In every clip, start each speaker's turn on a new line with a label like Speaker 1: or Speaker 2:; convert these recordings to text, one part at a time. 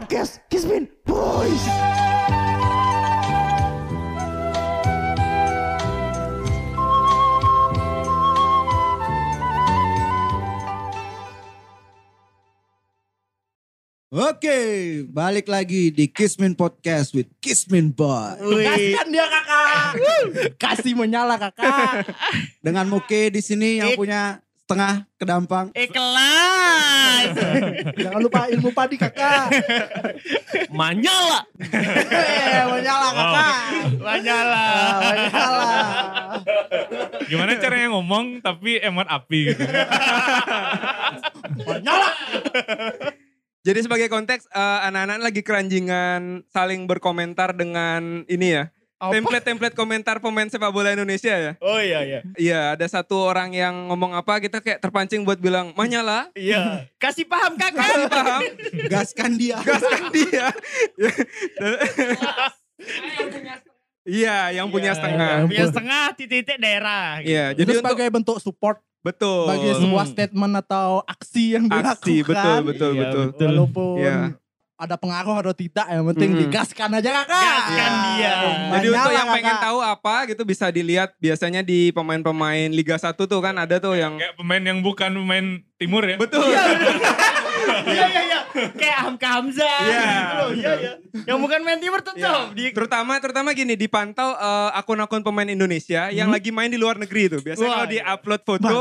Speaker 1: Kiss me, boys.
Speaker 2: Oke, balik lagi di Kismin Podcast with Kismin Boy.
Speaker 1: Kasihkan dia kakak. Kasih menyala kakak.
Speaker 2: Dengan Muke di sini yang punya setengah kedampang.
Speaker 3: Ikhlas.
Speaker 1: Jangan lupa ilmu padi kakak.
Speaker 3: Manyala.
Speaker 1: Eh, menyala kakak.
Speaker 3: Manyala.
Speaker 1: Ah, menyala.
Speaker 4: Gimana caranya ngomong tapi emot api gitu.
Speaker 5: Jadi sebagai konteks eh, anak-anak lagi keranjingan saling berkomentar dengan ini ya. Template-template komentar pemain sepak bola Indonesia ya.
Speaker 3: Oh iya iya.
Speaker 5: Iya, ada satu orang yang ngomong apa kita kayak terpancing buat bilang Manyala.
Speaker 3: Iya. Kasih paham kakak.
Speaker 5: Kasih
Speaker 1: Kan
Speaker 5: paham, ya?"
Speaker 2: Gaskan dia.
Speaker 5: gaskan dia. Iya, yang punya setengah.
Speaker 3: Punya setengah titik-titik daerah. gitu.
Speaker 5: Iya,
Speaker 1: Jadi
Speaker 5: jadi untuk
Speaker 1: sebagai bentuk support
Speaker 5: betul.
Speaker 1: bagi sebuah
Speaker 3: Hmm.
Speaker 1: statement atau aksi yang dilakukan.
Speaker 5: Aksi, betul, betul,
Speaker 3: Iya,
Speaker 5: kan? betul.
Speaker 3: betul.
Speaker 1: Walaupun
Speaker 5: Iya.
Speaker 1: ada pengaruh atau tidak yang penting
Speaker 5: Mm-mm.
Speaker 1: digaskan aja kakak.
Speaker 3: Gaskan dia.
Speaker 5: Jadi untuk
Speaker 1: Menyala,
Speaker 5: yang pengen
Speaker 1: Kakak.
Speaker 5: tahu apa gitu bisa dilihat biasanya di pemain-pemain Liga 1 tuh kan ada tuh yang
Speaker 4: Kayak pemain yang bukan pemain timur ya.
Speaker 5: betul.
Speaker 3: Iya iya iya. Kayak Hamka Hamzah.
Speaker 5: Iya.
Speaker 3: gitu loh, Iya iya. Yang bukan main timur tetap. Di
Speaker 5: Terutama terutama gini dipantau eh, akun-akun pemain Indonesia yang lagi main di luar negeri itu. Biasanya
Speaker 3: Wah,
Speaker 5: kalau di-upload foto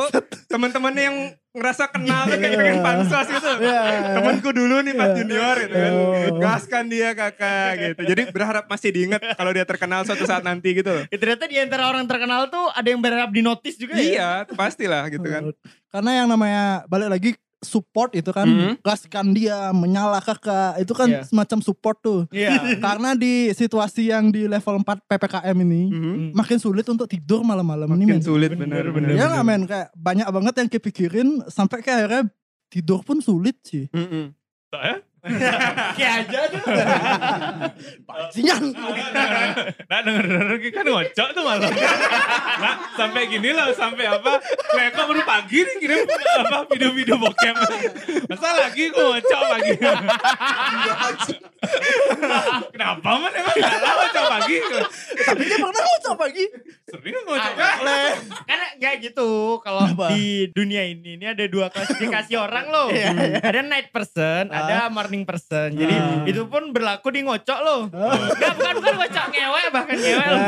Speaker 5: teman-temannya yang ngerasa kenal tuh kayak pengen pansos gitu.
Speaker 1: Iya,
Speaker 5: Temanku dulu nih Mas Junior gitu kan. Gaskan dia kakak gitu. Jadi berharap masih diingat kalau dia terkenal suatu saat nanti gitu. loh.
Speaker 3: Ya, ternyata di antara orang terkenal tuh ada yang berharap di notice juga ya.
Speaker 5: Iya, pastilah gitu kan.
Speaker 1: Karena yang namanya balik lagi support itu kan
Speaker 5: Mhm.
Speaker 1: gaskan dia menyala kakak itu kan
Speaker 3: Iya.
Speaker 1: semacam support tuh
Speaker 3: Iya.
Speaker 1: karena di situasi yang di level 4 PPKM ini
Speaker 5: Mhm.
Speaker 1: makin sulit untuk tidur malam-malam Oh. ini men
Speaker 5: Makin sulit bener-bener.
Speaker 1: ya nggak men kayak banyak banget yang kepikirin sampai kayak akhirnya tidur pun sulit sih
Speaker 5: Mm-mm.
Speaker 4: ya.
Speaker 3: Kayak aja tuh.
Speaker 1: Sinyal.
Speaker 4: Nah denger denger kan ngocok tuh malah. Nah sampai gini loh sampai apa. Leko baru pagi nih kirim apa video-video bokep. Masa lagi gue ngocok pagi. Kenapa man emang salah ngocok pagi.
Speaker 1: tapi dia pernah ngucap pagi
Speaker 4: Sering nggak ngocok
Speaker 3: Ada.
Speaker 4: pagi.
Speaker 3: Karena nggak gitu kalau
Speaker 1: Apa?
Speaker 3: di dunia ini ini ada dua klasifikasi orang loh.
Speaker 1: Iya,
Speaker 3: Ada night person, ada morning person. Jadi
Speaker 1: Ah.
Speaker 3: itu pun berlaku di ngocok loh. Nggak bukan bukan ngocok ngewe bahkan ngewe loh.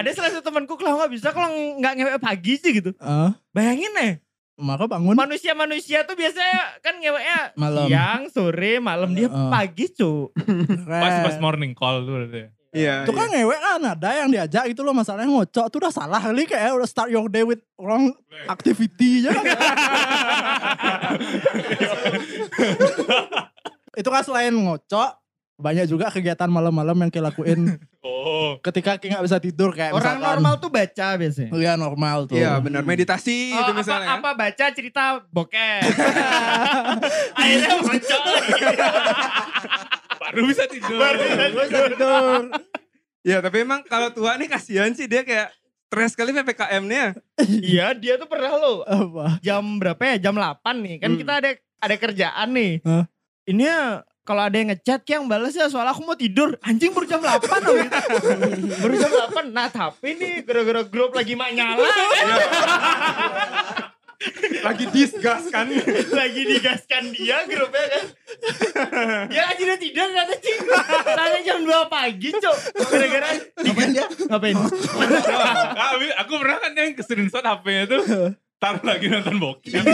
Speaker 3: Ada salah satu temanku kalau nggak bisa kalau nggak ngewe pagi sih gitu.
Speaker 1: ah
Speaker 3: Bayangin nih
Speaker 1: maka bangun
Speaker 3: manusia-manusia tuh biasanya kan ngewe
Speaker 1: Malam.
Speaker 3: siang, sore, malam dia
Speaker 1: Ah.
Speaker 3: pagi cu.
Speaker 1: Keren.
Speaker 4: Pas pas morning call tuh berarti.
Speaker 5: Iya.
Speaker 1: Itu kan ngewek kan ada yang diajak gitu loh masalahnya ngocok tuh udah salah kali kayak udah start your day with wrong
Speaker 5: Iya.
Speaker 1: activity aja kan. itu kan selain ngocok banyak juga kegiatan malam-malam yang dilakuin
Speaker 4: Oh.
Speaker 1: ketika kita nggak bisa tidur kayak
Speaker 3: Orang
Speaker 1: misalkan,
Speaker 3: normal tuh baca biasanya.
Speaker 1: Iya normal tuh.
Speaker 5: Iya benar meditasi
Speaker 3: Oh,
Speaker 5: itu
Speaker 3: apa,
Speaker 5: misalnya.
Speaker 3: apa baca cerita bokeh. Akhirnya bocor.
Speaker 4: Baru bisa tidur. Baru bisa
Speaker 1: Tidur.
Speaker 5: Ya tapi emang kalau tua nih kasihan sih dia kayak stres kali PPKM-nya.
Speaker 3: Iya, dia tuh pernah loh.
Speaker 1: Apa?
Speaker 3: Jam berapa ya? Jam 8 nih. Kan
Speaker 5: Hmm.
Speaker 3: kita ada ada kerjaan nih.
Speaker 1: Hah?
Speaker 3: Ini ya, kalau ada yang ngechat yang balas ya soal aku mau tidur. Anjing baru jam 8 loh gitu. baru jam 8. Nah, tapi nih gara-gara grup lagi manyala kan.
Speaker 5: Lagi disgas kan.
Speaker 3: lagi digaskan dia grupnya kan. ya aja udah tidur ternyata cing. Ternyata jam 2 pagi, Cok. Gara-gara
Speaker 1: Ngapain dia?
Speaker 3: ngapain? Oh.
Speaker 4: Ah, Wi, aku pernah kan yang screenshot HP-nya tuh taruh lagi nonton bokep.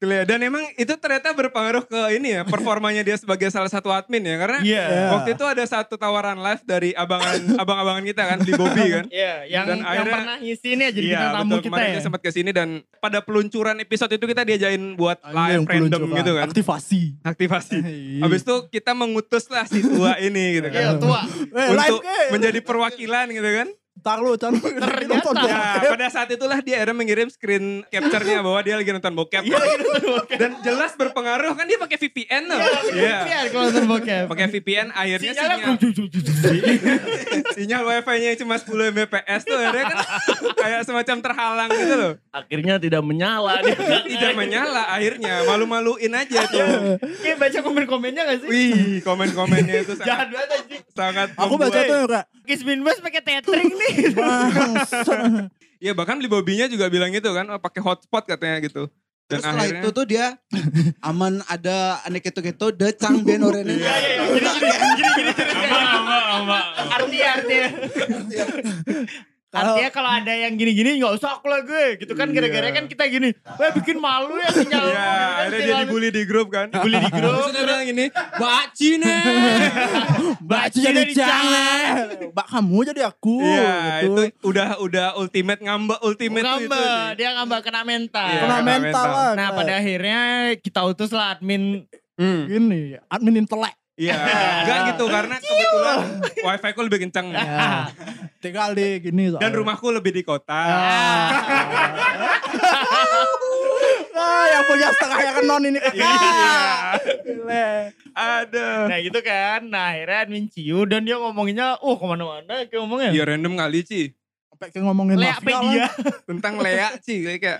Speaker 5: Gila, Dan emang itu ternyata berpengaruh ke ini ya performanya dia sebagai salah satu admin ya karena
Speaker 3: Iya.
Speaker 5: waktu itu ada satu tawaran live dari abangan abang-abangan kita kan di Bobby kan.
Speaker 3: Iya, yang,
Speaker 5: Dan
Speaker 3: yang
Speaker 5: akhirnya-
Speaker 3: pernah ngisi ini ya jadi
Speaker 5: Iya,
Speaker 3: bintang tamu
Speaker 5: betul.
Speaker 3: kita
Speaker 5: Kemarin
Speaker 3: ya.
Speaker 5: dia sempat kesini dan pada peluncuran episode itu kita diajain buat
Speaker 1: Ah,
Speaker 5: live
Speaker 1: iya, Yang
Speaker 5: random
Speaker 1: peluncuran.
Speaker 5: gitu kan.
Speaker 1: Aktivasi.
Speaker 5: Aktivasi.
Speaker 1: Iya.
Speaker 5: Habis itu kita mengutuslah si tua ini gitu kan.
Speaker 3: Iya, tua.
Speaker 1: Eh, live
Speaker 5: Untuk
Speaker 1: ke.
Speaker 5: menjadi perwakilan gitu kan.
Speaker 1: Ntar lu Chan. Nonton
Speaker 3: Ternyata.
Speaker 5: Ya,
Speaker 1: bokep.
Speaker 5: pada saat itulah dia akhirnya mengirim screen capture-nya bahwa dia lagi nonton bokep. Dan jelas berpengaruh kan dia pakai VPN loh. Iya.
Speaker 3: Biar kalau nonton bokep.
Speaker 5: Pakai VPN akhirnya
Speaker 3: Sinyalnya
Speaker 5: sinyal, sinyal wifi-nya cuma 10 Mbps tuh akhirnya kan kayak semacam terhalang gitu loh.
Speaker 6: Akhirnya tidak menyala dia.
Speaker 3: Iya.
Speaker 5: Tidak menyala akhirnya, malu-maluin aja tuh.
Speaker 3: Kayak baca komen-komennya gak
Speaker 5: Iya.
Speaker 3: sih?
Speaker 5: Wih, komen-komennya itu
Speaker 3: Jahat
Speaker 5: sangat,
Speaker 3: banget anjing.
Speaker 5: sangat
Speaker 1: Aku baca
Speaker 5: membuat-
Speaker 1: tuh yang kayak.
Speaker 3: Kismin Bus pakai tethering nih.
Speaker 5: Iya bahkan beli bobinya juga bilang gitu kan, oh, pakai hotspot katanya gitu. Dan
Speaker 2: Terus setelah
Speaker 5: akhirnya
Speaker 2: itu tuh dia aman ada aneh keto-keto de cang ben orene.
Speaker 7: Iya,
Speaker 5: iya.
Speaker 4: Ama, ama, ama.
Speaker 3: Artinya, artinya. Artinya kalau ada yang gini-gini gak usah aku lah gue. Gitu kan gara-gara kan kita gini. Wah bikin malu ya sinyal.
Speaker 5: Iya, akhirnya dia dibully di grup kan. Dibully di grup. Terus dia bilang gini, baci nih.
Speaker 1: Baca jadi
Speaker 3: jadi
Speaker 1: jangan. Mbak kamu jadi aku.
Speaker 5: Iya,
Speaker 1: gitu.
Speaker 5: itu udah udah ultimate ngambek ultimate tuh itu.
Speaker 3: Ngambek. Dia ngambek kena mental.
Speaker 5: Iya.
Speaker 1: Kena
Speaker 5: kena
Speaker 1: mental
Speaker 5: mental.
Speaker 1: lah.
Speaker 3: Nah
Speaker 1: kayak.
Speaker 3: pada akhirnya kita utus lah admin.
Speaker 5: Hmm.
Speaker 1: Gini, admin intelek.
Speaker 5: Iya, enggak gitu karena kebetulan wifi ku lebih kencang.
Speaker 1: Ya. Tinggal di gini. soalnya.
Speaker 5: Dan rumahku lebih di kota.
Speaker 3: Ah,
Speaker 1: Ah, yang punya setengah yang non ini.
Speaker 5: Iya.
Speaker 1: Gile.
Speaker 5: Ada.
Speaker 3: nah gitu kan. Nah akhirnya admin Ciu dan dia ngomonginnya, uh kemana-mana kayak ngomongnya.
Speaker 7: Iya.
Speaker 5: Ya random kali Ci.
Speaker 1: Sampai kayak ngomongin mafia lah.
Speaker 3: Leapedia.
Speaker 5: Tentang Lea Ci kayak kayak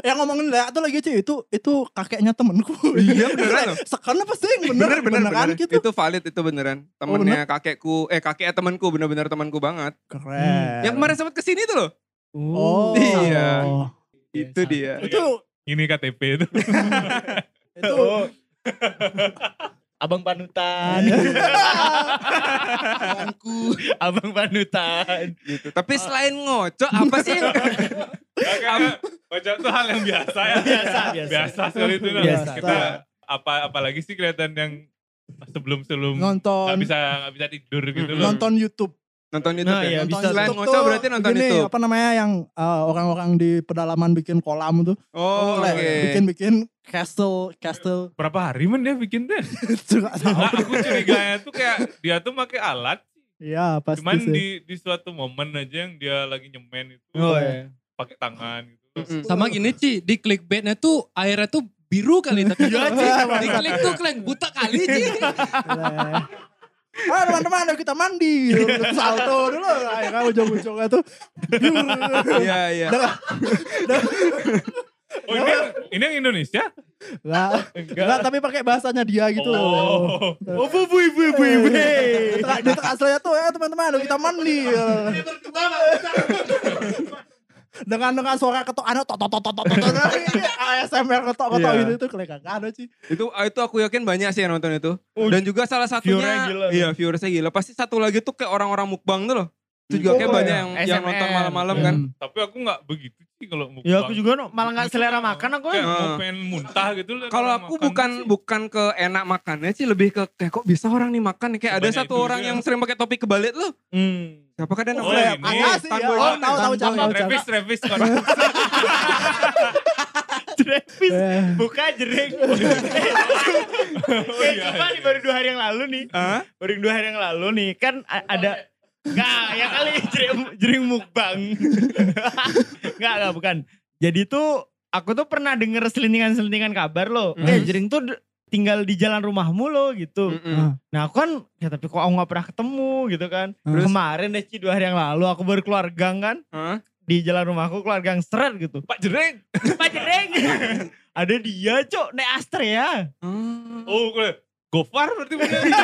Speaker 1: Yang ngomongin Lea tuh lagi cuy, itu itu kakeknya temenku.
Speaker 5: Iya, beneran loh.
Speaker 1: Sekarang pasti yang bener,
Speaker 5: bener bener, Oh,
Speaker 1: beneran
Speaker 5: bener.
Speaker 1: gitu.
Speaker 5: Itu valid itu beneran. Temennya kakekku, eh kakeknya temanku bener-bener temanku banget.
Speaker 1: Keren.
Speaker 5: Yang kemarin sempat kesini tuh loh.
Speaker 3: "Uh,
Speaker 1: Oh.
Speaker 5: Iya.
Speaker 3: Iya,
Speaker 5: Itu
Speaker 3: sama.
Speaker 5: dia.
Speaker 1: Itu
Speaker 4: Ini KTP itu.
Speaker 1: itu
Speaker 5: Oh.
Speaker 3: Abang Panutan.
Speaker 7: Iya.
Speaker 2: Bangku.
Speaker 3: Abang Panutan.
Speaker 5: gitu. Tapi selain ngocok apa sih? yang-
Speaker 4: Kocok tuh hal yang biasa ya.
Speaker 3: Biasa, biasa.
Speaker 4: Biasa sekali itu. Nol.
Speaker 3: Biasa.
Speaker 4: Kita apa apalagi sih kelihatan yang sebelum sebelum
Speaker 1: nonton
Speaker 4: nggak bisa nggak bisa tidur gitu loh.
Speaker 1: nonton YouTube.
Speaker 5: nonton YouTube
Speaker 3: Nah,
Speaker 5: ya.
Speaker 3: iya,
Speaker 1: nonton
Speaker 3: bisa.
Speaker 5: Selain
Speaker 1: YouTube
Speaker 5: ngocok
Speaker 1: tuh
Speaker 5: berarti nonton
Speaker 1: gini,
Speaker 5: YouTube.
Speaker 1: Apa namanya yang eh, orang-orang di pedalaman bikin kolam tuh.
Speaker 5: Oh,
Speaker 1: iya,
Speaker 5: oke.
Speaker 1: Bikin-bikin castle, castle.
Speaker 4: Berapa hari men dia bikin deh.
Speaker 1: Juga tahu.
Speaker 4: Nah, aku curiganya tuh kayak dia tuh pakai alat,
Speaker 1: Iya, pasti
Speaker 4: cuman
Speaker 1: sih.
Speaker 4: di di suatu momen aja yang dia lagi nyemen itu
Speaker 3: Oh, iya.
Speaker 4: pakai tangan gitu.
Speaker 5: Mm-mm.
Speaker 3: Uh.
Speaker 7: Sama gini Ci, di clickbaitnya tuh airnya tuh biru kali tapi ya,
Speaker 3: Iya,
Speaker 7: Ci, di klik tuh kalian buta kali Ci.
Speaker 1: Boleh. Ah teman-teman ayo kita mandi Salto dulu Akhirnya ujung-ujungnya tuh
Speaker 5: Iya, iya.
Speaker 4: Oh, ini, yang- ini yang Indonesia?
Speaker 1: Enggak Enggak tapi pakai bahasanya dia gitu loh
Speaker 4: Oh.
Speaker 3: Oh, bu, bu, bu, bu, bu.
Speaker 1: Tra- Di terakhirnya tuh Eh teman-teman ayo kita mandi Dengan dengan suara ketok anu tok tok tok tok tok tok. ASMR ketok-ketok
Speaker 5: Iya.
Speaker 1: gitu itu kelihatan ada sih.
Speaker 5: Itu ah, itu aku yakin banyak sih yang nonton itu. Dan juga salah satunya
Speaker 3: viewernya gila.
Speaker 5: Iya, viewersnya gila. Pasti satu lagi tuh kayak orang-orang mukbang tuh loh. Itu juga kayak
Speaker 3: Oh,
Speaker 5: banyak
Speaker 3: iya.
Speaker 5: yang, yang nonton
Speaker 3: SMM.
Speaker 5: malam-malam kan.
Speaker 4: Tapi aku nggak begitu sih kalau mukbang.
Speaker 3: Ya aku juga no, malah gak selera makan aku.
Speaker 4: Kayak
Speaker 3: ya.
Speaker 4: mau
Speaker 5: Ah.
Speaker 4: pengen muntah gitu loh.
Speaker 5: Kalau
Speaker 4: orang
Speaker 5: aku
Speaker 4: makan
Speaker 5: bukan
Speaker 4: sih.
Speaker 5: bukan ke enak makannya sih lebih ke kayak kok bisa orang nih makan nih. kayak ada
Speaker 4: Sebanyak
Speaker 5: satu
Speaker 4: itu
Speaker 5: orang
Speaker 4: juga.
Speaker 5: yang sering pakai topi kebalik loh.
Speaker 3: Hmm.
Speaker 5: Siapa kan dia
Speaker 4: Oh,
Speaker 5: namanya?
Speaker 4: ini.
Speaker 1: Ada sih. ya.
Speaker 5: Tanboy
Speaker 1: Oh,
Speaker 5: One.
Speaker 1: tahu tahu tahu tahu. tahu.
Speaker 4: Travis, Travis. kan.
Speaker 3: Travis
Speaker 1: Eh.
Speaker 3: buka jering.
Speaker 4: Oh,
Speaker 3: Kayak
Speaker 4: iya,
Speaker 3: cuma nih
Speaker 4: iya.
Speaker 3: baru dua hari yang lalu nih.
Speaker 5: Hah?
Speaker 3: Baru dua hari yang lalu nih kan a- ada Enggak, ya kali jering, jering mukbang. Enggak, enggak bukan. Jadi tuh aku tuh pernah denger selintingan-selintingan kabar loh. Eh, jering tuh d- tinggal di jalan rumahmu loh gitu.
Speaker 5: Mm-mm.
Speaker 3: Nah aku kan, ya tapi kok aku gak pernah ketemu gitu kan.
Speaker 5: Terus?
Speaker 3: Kemarin deh Ci, dua hari yang lalu aku baru keluar gang kan.
Speaker 5: Hah?
Speaker 3: Di jalan rumahku keluar gang seret gitu.
Speaker 4: Pak Jereng.
Speaker 3: Pak Jereng! Ada dia cok, naik ya. Astrea.
Speaker 5: Hmm.
Speaker 4: Oh, gue. Gofar berarti punya dia.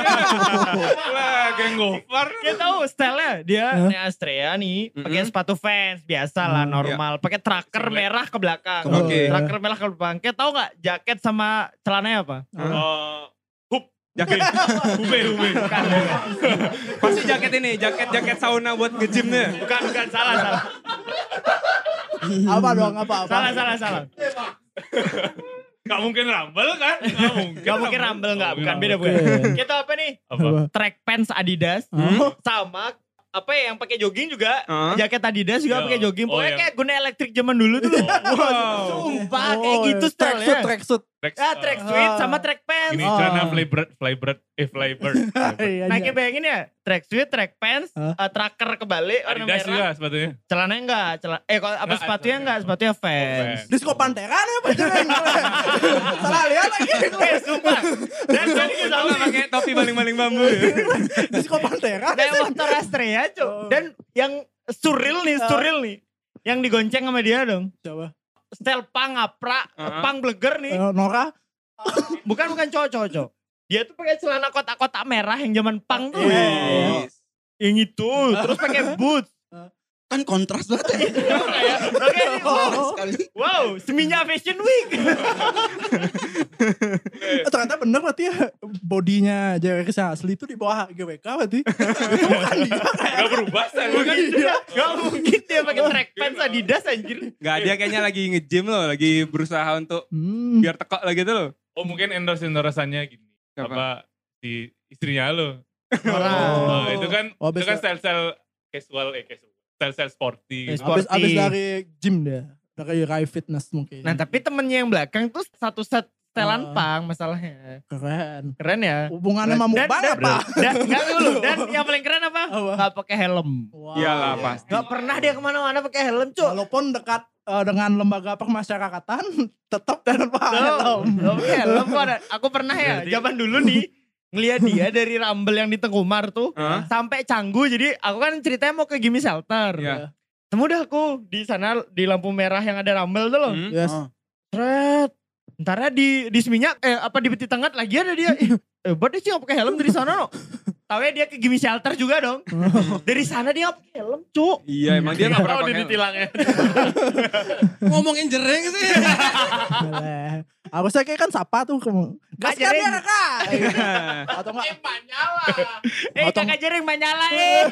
Speaker 4: Lah, geng Gofar.
Speaker 3: Dia tahu stylenya dia
Speaker 1: Hah? Mm,
Speaker 3: naik Astrea nih. Pakai
Speaker 5: Mm-mm.
Speaker 3: sepatu fans, biasa
Speaker 4: iya.
Speaker 3: lah normal. Pakai tracker
Speaker 4: Singlet.
Speaker 3: merah ke belakang.
Speaker 1: Oh,
Speaker 5: Oke.
Speaker 1: iya.
Speaker 3: Tracker merah ke belakang. Kayak tahu gak jaket sama celananya apa?
Speaker 4: Eh,
Speaker 3: Oh.
Speaker 5: Jaket
Speaker 4: Hube, hube.
Speaker 5: pasti jaket ini, jaket-jaket sauna buat nge-gymnya.
Speaker 3: Bukan, bukan, salah, salah.
Speaker 1: Apa dong apa apa.
Speaker 3: Salah, salah, salah.
Speaker 4: Gak mungkin rambel kan? Gak mungkin.
Speaker 3: Gak mungkin rambel gak,
Speaker 4: Nggak
Speaker 3: bukan
Speaker 4: mungkin
Speaker 3: beda
Speaker 4: rambel.
Speaker 3: bukan.
Speaker 1: Oke.
Speaker 3: Kita apa nih?
Speaker 4: Apa?
Speaker 1: Apa?
Speaker 3: track pants Adidas
Speaker 1: Hmm.
Speaker 3: sama apa ya yang pakai jogging juga
Speaker 5: Hah?
Speaker 3: jaket Adidas juga
Speaker 4: Iya.
Speaker 3: pakai jogging
Speaker 4: Oh,
Speaker 3: pokoknya
Speaker 4: iya.
Speaker 3: kayak guna elektrik zaman dulu tuh
Speaker 4: Oh.
Speaker 3: sumpah kayak gitu
Speaker 1: tracksuit
Speaker 3: stylenya
Speaker 1: tracksuit.
Speaker 4: Track,
Speaker 3: Ah, track suit sama track
Speaker 4: uh,
Speaker 3: pants.
Speaker 4: Ini
Speaker 1: Oh.
Speaker 4: celana flybird, flybird, eh flybird. flybird.
Speaker 1: Iya, iya.
Speaker 3: Nike bayangin ya, track suit, track pants,
Speaker 1: Hah?
Speaker 3: eh, tracker kebalik warna
Speaker 4: Adidas
Speaker 3: merah.
Speaker 4: juga sepatunya.
Speaker 3: Celananya enggak, celan eh kalau apa
Speaker 4: Enggak,
Speaker 3: sepatunya
Speaker 4: enggak.
Speaker 3: enggak, sepatunya fans.
Speaker 1: Disco Pantera nih apa jangan. Salah lihat lagi.
Speaker 3: Eh, sumpah. Dan tadi kita tahu kan,
Speaker 5: Sama pakai topi maling-maling bambu ya.
Speaker 1: Disco Pantera.
Speaker 3: kayak motor Astrea, Cuk.
Speaker 1: Oh.
Speaker 3: Dan yang surreal nih,
Speaker 1: Ah.
Speaker 3: surreal nih. Yang digonceng sama dia dong.
Speaker 1: Coba.
Speaker 3: Stel pang apra,
Speaker 5: Ah.
Speaker 3: pang bleger nih.
Speaker 1: Eh, Nora.
Speaker 3: Bukan bukan cowok-cowok, Cuk. Dia tuh pakai celana kotak-kotak merah yang zaman pang tuh.
Speaker 1: Iya.
Speaker 3: Yang itu, terus pakai boots.
Speaker 2: Kan kontras banget ya.
Speaker 3: Kayak, oke, ini, wow.
Speaker 7: Oh.
Speaker 1: Oh,
Speaker 2: Kontras sekali.
Speaker 3: wow, seminya Fashion Week.
Speaker 1: Eh, ternyata bener berarti ya bodinya Jerry asli itu di bawah GWK berarti. itu bukan dia.
Speaker 4: Gak berubah style lu kan.
Speaker 3: Iya, gak mungkin dia pakai track pants Adidas anjir.
Speaker 5: Gak dia kayaknya lagi nge-gym loh, lagi berusaha untuk
Speaker 1: Hmm.
Speaker 5: biar tekok lagi tuh loh.
Speaker 4: Oh mungkin endorse endorsannya gini.
Speaker 5: Apa?
Speaker 4: Apa si istrinya lo.
Speaker 3: Orang.
Speaker 4: Nah, itu kan
Speaker 1: Oh,
Speaker 4: itu
Speaker 1: abis,
Speaker 4: kan style-style casual eh casual. Style-style sporty.
Speaker 3: Eh,
Speaker 4: gitu.
Speaker 1: abis, abis
Speaker 3: sporty.
Speaker 1: dari gym dia. Dari Rai Fitness mungkin.
Speaker 3: Nah tapi temennya yang belakang tuh satu set
Speaker 1: Ah.
Speaker 3: telan pang masalahnya.
Speaker 1: Keren.
Speaker 3: Keren ya.
Speaker 1: Hubungannya sama
Speaker 3: Dan,
Speaker 1: mukbang
Speaker 3: dan,
Speaker 1: apa?
Speaker 3: dan, gak dulu. Dan yang paling keren apa?
Speaker 1: Apa?
Speaker 3: Gak pakai helm.
Speaker 1: Wow.
Speaker 5: Iyalah pasti.
Speaker 3: Gak pernah dia kemana-mana pakai helm cuk.
Speaker 1: Walaupun dekat eh, dengan lembaga pemasyarakatan, tetap tanpa helm.
Speaker 3: Gak pakai helm. Gua ada- Aku pernah ya zaman dulu nih. Ngeliat dia dari Rambel yang di Tengkumar tuh.
Speaker 5: Hah?
Speaker 3: Sampai Canggu. Jadi aku kan ceritanya mau ke Gimme Shelter.
Speaker 5: Iya.
Speaker 3: Temu dah aku di sana di lampu merah yang ada Rambel tuh loh.
Speaker 5: Hmm?
Speaker 1: Yes.
Speaker 2: Oh.
Speaker 3: Seret. Ntarnya di di seminyak eh apa di peti tengah lagi ada dia. Ih, Eh, buat dia sih nggak pakai helm dari sana no. Taunya dia ke Gimme Shelter juga dong. dari sana dia nggak pakai helm, Cuk.
Speaker 5: Iya emang dia gak
Speaker 3: Oh,
Speaker 5: pernah
Speaker 4: Tahu di
Speaker 5: pakai.
Speaker 3: ya.
Speaker 4: ditilangnya.
Speaker 7: Ngomongin jereng sih.
Speaker 1: Boleh. Harusnya kayak kan sapa tuh. kamu. Gas kan
Speaker 3: Jereng.
Speaker 1: ya kakak. Atau enggak.
Speaker 3: Manyala. eh,
Speaker 1: Atau-
Speaker 3: kakak jaring Manyala eh.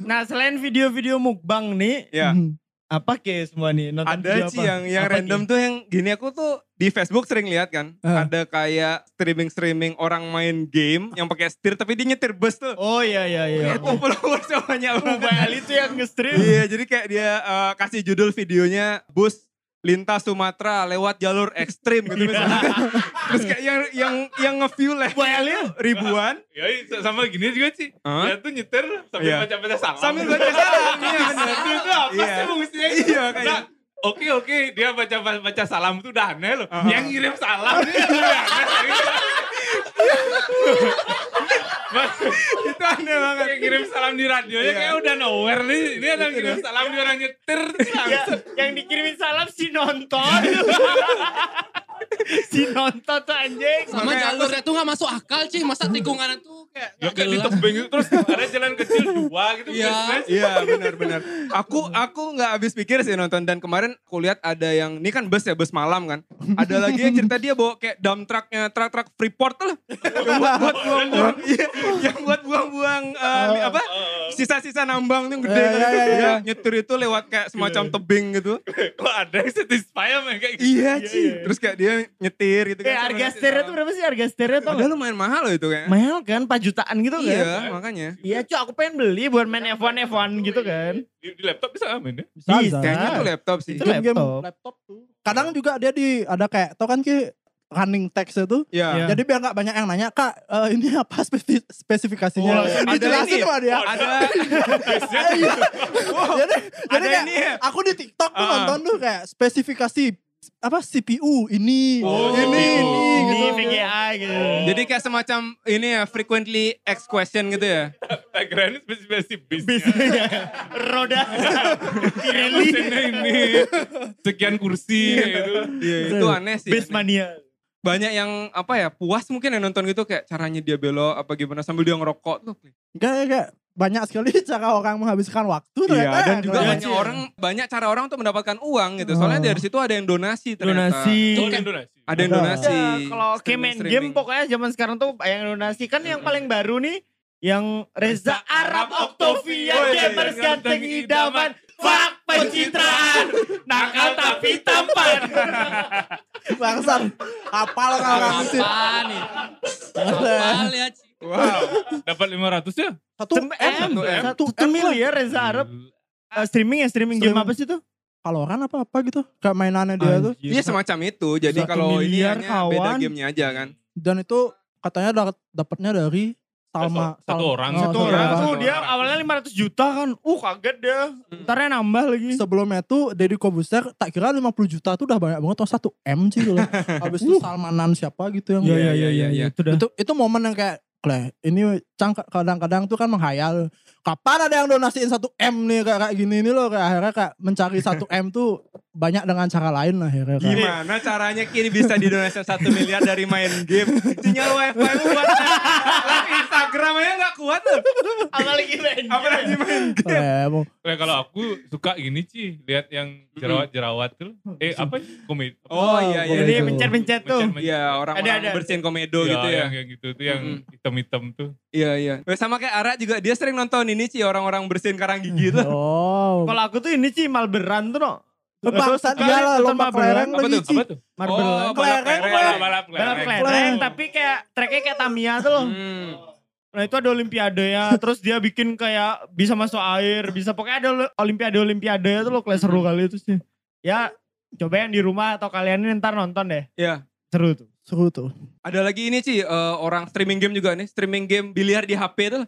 Speaker 3: nah, selain video-video mukbang nih,
Speaker 5: Iya.
Speaker 1: Hmm.
Speaker 3: apa ke semua nih? Nonton
Speaker 5: Ada
Speaker 3: video
Speaker 5: sih
Speaker 3: apa?
Speaker 5: yang yang
Speaker 3: Apa, Ki?
Speaker 5: random tuh yang gini aku tuh di Facebook sering lihat kan.
Speaker 1: Eh.
Speaker 5: Ada kayak streaming-streaming orang main game yang pakai setir tapi dia nyetir bus tuh.
Speaker 3: Oh iya iya iya.
Speaker 5: Itu followersnya banyak banget.
Speaker 3: Mobile itu yang nge-stream.
Speaker 5: Iya, jadi kayak dia eh, kasih judul videonya bus lintas Sumatera lewat jalur ekstrim gitu misalnya. Terus kayak yang yang yang nge-view lah
Speaker 3: Mobile-nya.
Speaker 5: ribuan
Speaker 4: Ya sama gini juga sih.
Speaker 5: Hah?
Speaker 4: Dia tuh nyetir sambil
Speaker 5: Iya.
Speaker 4: baca-baca salam.
Speaker 5: sambil baca salam. Iya, bener.
Speaker 4: Itu tuh apa
Speaker 5: Iya.
Speaker 4: sih fungsinya?
Speaker 5: Iya, kayak-
Speaker 4: Nah, Oke oke, dia baca baca salam tuh udah aneh loh.
Speaker 5: Uh-huh.
Speaker 4: Yang ngirim salam dia udah aneh.
Speaker 5: Itu aneh banget.
Speaker 4: Kayak ngirim salam di radionya
Speaker 5: Iya.
Speaker 4: kayak udah nowhere nih. Ini ada yang ngirim salam di orang nyetir.
Speaker 3: Ya, yang dikirimin salam si nonton. si nonton tuh anjing.
Speaker 7: Sama jalurnya tuh gak masuk akal sih. Masa tikungan tuh kayak
Speaker 4: Ya
Speaker 7: gak
Speaker 4: kayak di
Speaker 7: jelas.
Speaker 4: tebing itu terus ada jalan kecil dua gitu.
Speaker 7: Iya.
Speaker 4: business.
Speaker 5: Iya benar-benar. Aku aku nggak habis pikir sih nonton dan kemarin aku lihat ada yang ini kan bus ya bus malam kan. Ada lagi yang cerita dia bawa kayak dump trucknya truk truk freeport tuh lah. Yang buat buat buang-buang, iya, yang buat buang-buang eh, mi- apa sisa-sisa nambang tuh yang gede
Speaker 1: Iya,
Speaker 5: kan.
Speaker 1: iya, iya,
Speaker 5: Dia
Speaker 1: iya.
Speaker 5: nyetir itu lewat kayak semacam tebing gitu.
Speaker 4: Kok ada yang satisfy sama yang kayak gitu.
Speaker 5: Iya sih. Terus kayak dia nyetir gitu
Speaker 3: Eh harga stereo tuh berapa sih harga stereo tuh?
Speaker 5: Padahal lumayan mahal loh itu kayaknya.
Speaker 3: Mahal kan, 4 jutaan gitu kan.
Speaker 5: Iya makanya.
Speaker 3: Iya cu, aku pengen beli buat main F1 F1 gitu kan.
Speaker 4: Di, di laptop bisa main ya?
Speaker 1: Bisa, bisa.
Speaker 5: Kayaknya tuh laptop sih.
Speaker 3: Itu
Speaker 1: Game-game
Speaker 3: laptop.
Speaker 1: laptop tuh. Kadang juga dia di ada kayak tau kan ki running text itu.
Speaker 5: Iya.
Speaker 1: Jadi biar nggak banyak yang nanya, Kak, eh, ini apa spesifi- spesifikasinya?
Speaker 3: Oh, langsung
Speaker 1: dijelasin
Speaker 5: ini ya?
Speaker 1: sama dia.
Speaker 5: Ada
Speaker 1: Iya. jadi jadi
Speaker 5: Oh, Ada
Speaker 1: kayak
Speaker 5: ini ya?
Speaker 1: aku di TikTok tuh
Speaker 5: Ah.
Speaker 1: nonton tuh kayak spesifikasi apa CPU ini,
Speaker 4: Oh,
Speaker 1: ini,
Speaker 4: CPU.
Speaker 1: ini,
Speaker 3: Ini
Speaker 1: gitu.
Speaker 3: VGA gitu.
Speaker 5: Jadi kayak semacam ini ya frequently asked question gitu ya.
Speaker 4: Tak kira ini spesifikasi bis.
Speaker 3: Roda. Pirelli.
Speaker 4: Mesinnya ini. Sekian kursi kayak gitu.
Speaker 5: Iya, itu aneh sih.
Speaker 3: Base
Speaker 5: aneh.
Speaker 3: mania.
Speaker 5: Banyak yang apa ya puas mungkin yang nonton gitu kayak caranya dia belok apa gimana sambil dia ngerokok tuh.
Speaker 1: Enggak, enggak. Banyak sekali cara orang menghabiskan waktu ternyata.
Speaker 5: Iya, dan juga
Speaker 1: Kalau-
Speaker 5: banyak orang banyak cara orang untuk mendapatkan uang gitu. Soalnya
Speaker 1: Oh.
Speaker 5: dari situ ada yang donasi ternyata.
Speaker 3: Donasi.
Speaker 4: Oh, di Indonesia.
Speaker 5: Ada yang
Speaker 1: Ada.
Speaker 5: donasi.
Speaker 3: Ya, kalau kayak main game
Speaker 5: Streaming-streaming.
Speaker 3: pokoknya zaman sekarang tuh yang donasi kan yang paling baru nih yang Reza Arab Octavia
Speaker 4: Woi,
Speaker 3: gamers
Speaker 4: yang
Speaker 3: ganteng
Speaker 4: ganteng
Speaker 3: idaman fuck pencitraan nakal tapi tampan
Speaker 1: Bangsat. Kapal kalau orang sih.
Speaker 7: Apaan nih? Apaan ya? Ci?
Speaker 5: Wow.
Speaker 4: Dapat 500 ya?
Speaker 1: Satu M.
Speaker 5: M.
Speaker 3: satu M mil ya Reza Arab Eh, streaming ya streaming game
Speaker 1: Streaming.
Speaker 3: apa sih tuh
Speaker 1: Valorant apa apa gitu kayak mainannya dia tuh
Speaker 5: Iya semacam itu. Jadi
Speaker 3: Satu
Speaker 5: kalau ini
Speaker 3: miliar,
Speaker 5: hanya beda
Speaker 3: kawan.
Speaker 5: gamenya aja kan.
Speaker 1: dan itu katanya dapat dapatnya dari Salma
Speaker 4: Satu- satu
Speaker 1: Salma-
Speaker 4: orang.
Speaker 1: Oh,
Speaker 4: Satu
Speaker 3: Tuh orang
Speaker 5: orang.
Speaker 3: tuh dia awalnya 500 juta kan. Uh kaget dia. Ntarnya nambah lagi.
Speaker 1: Sebelumnya tuh Deddy Kobuster tak kira 50 juta tuh udah banyak banget tuh satu M sih loh. Habis itu Salmanan siapa gitu yang
Speaker 5: Uh. Iya, iya, iya, iya, iya.
Speaker 3: Itu dah.
Speaker 1: itu itu momen yang kayak Kleh, ini cang kadang-kadang tuh kan menghayal kapan ada yang donasiin satu M nih kayak, kayak gini nih loh kayak akhirnya kayak mencari satu M tuh banyak dengan cara lain akhirnya
Speaker 5: Nah.
Speaker 1: kayak.
Speaker 5: Gimana caranya kini bisa didonasi satu miliar dari main game? Sinyal wifi lu buat Instagram aja gak kuat tuh.
Speaker 3: Apalagi main.
Speaker 5: Apalagi main game.
Speaker 1: Kayak mau-
Speaker 4: Kayak Eh, kalau aku suka gini Ci, lihat yang jerawat-jerawat tuh. Eh apa sih? Komedi.
Speaker 5: Hmm. Oh iya iya.
Speaker 3: Jadi
Speaker 5: iya.
Speaker 3: pencet-pencet tuh.
Speaker 4: Mencet-mencet.
Speaker 5: Iya orang-orang
Speaker 3: Ada, ada.
Speaker 5: bersihin komedo
Speaker 4: Ya,
Speaker 5: gitu ya.
Speaker 4: Yang, yang gitu tuh yang
Speaker 5: Mm-mm.
Speaker 4: hitam-hitam tuh.
Speaker 5: Iya iya. Eh, Sama kayak Ara juga dia sering nonton ini sih orang-orang bersihin karang gigi tuh.
Speaker 1: Oh.
Speaker 3: Kalau aku tuh ini sih Malberan tuh no.
Speaker 1: Bangsat dia lah
Speaker 3: Terus
Speaker 1: lomba
Speaker 3: sama
Speaker 1: kelereng
Speaker 5: Apa
Speaker 1: lagi
Speaker 5: tuh?
Speaker 1: Ci.
Speaker 4: Apa tuh?
Speaker 3: Marbelan.
Speaker 5: Oh, balap
Speaker 1: Kelereng,
Speaker 5: kelereng.
Speaker 4: Balap
Speaker 3: Balap
Speaker 1: kelereng.
Speaker 3: kelereng tapi kayak tracknya kayak Tamiya tuh loh.
Speaker 5: Hmm.
Speaker 3: Nah itu ada olimpiade ya, terus dia bikin kayak bisa masuk air, bisa pokoknya ada olimpiade olimpiade ya tuh loh kelas seru kali itu sih. Ya coba yang di rumah atau kalian ini ntar nonton deh.
Speaker 5: Iya.
Speaker 3: Seru tuh.
Speaker 1: Seru tuh.
Speaker 5: Ada lagi ini sih eh, orang streaming game juga nih, streaming game biliar di HP tuh.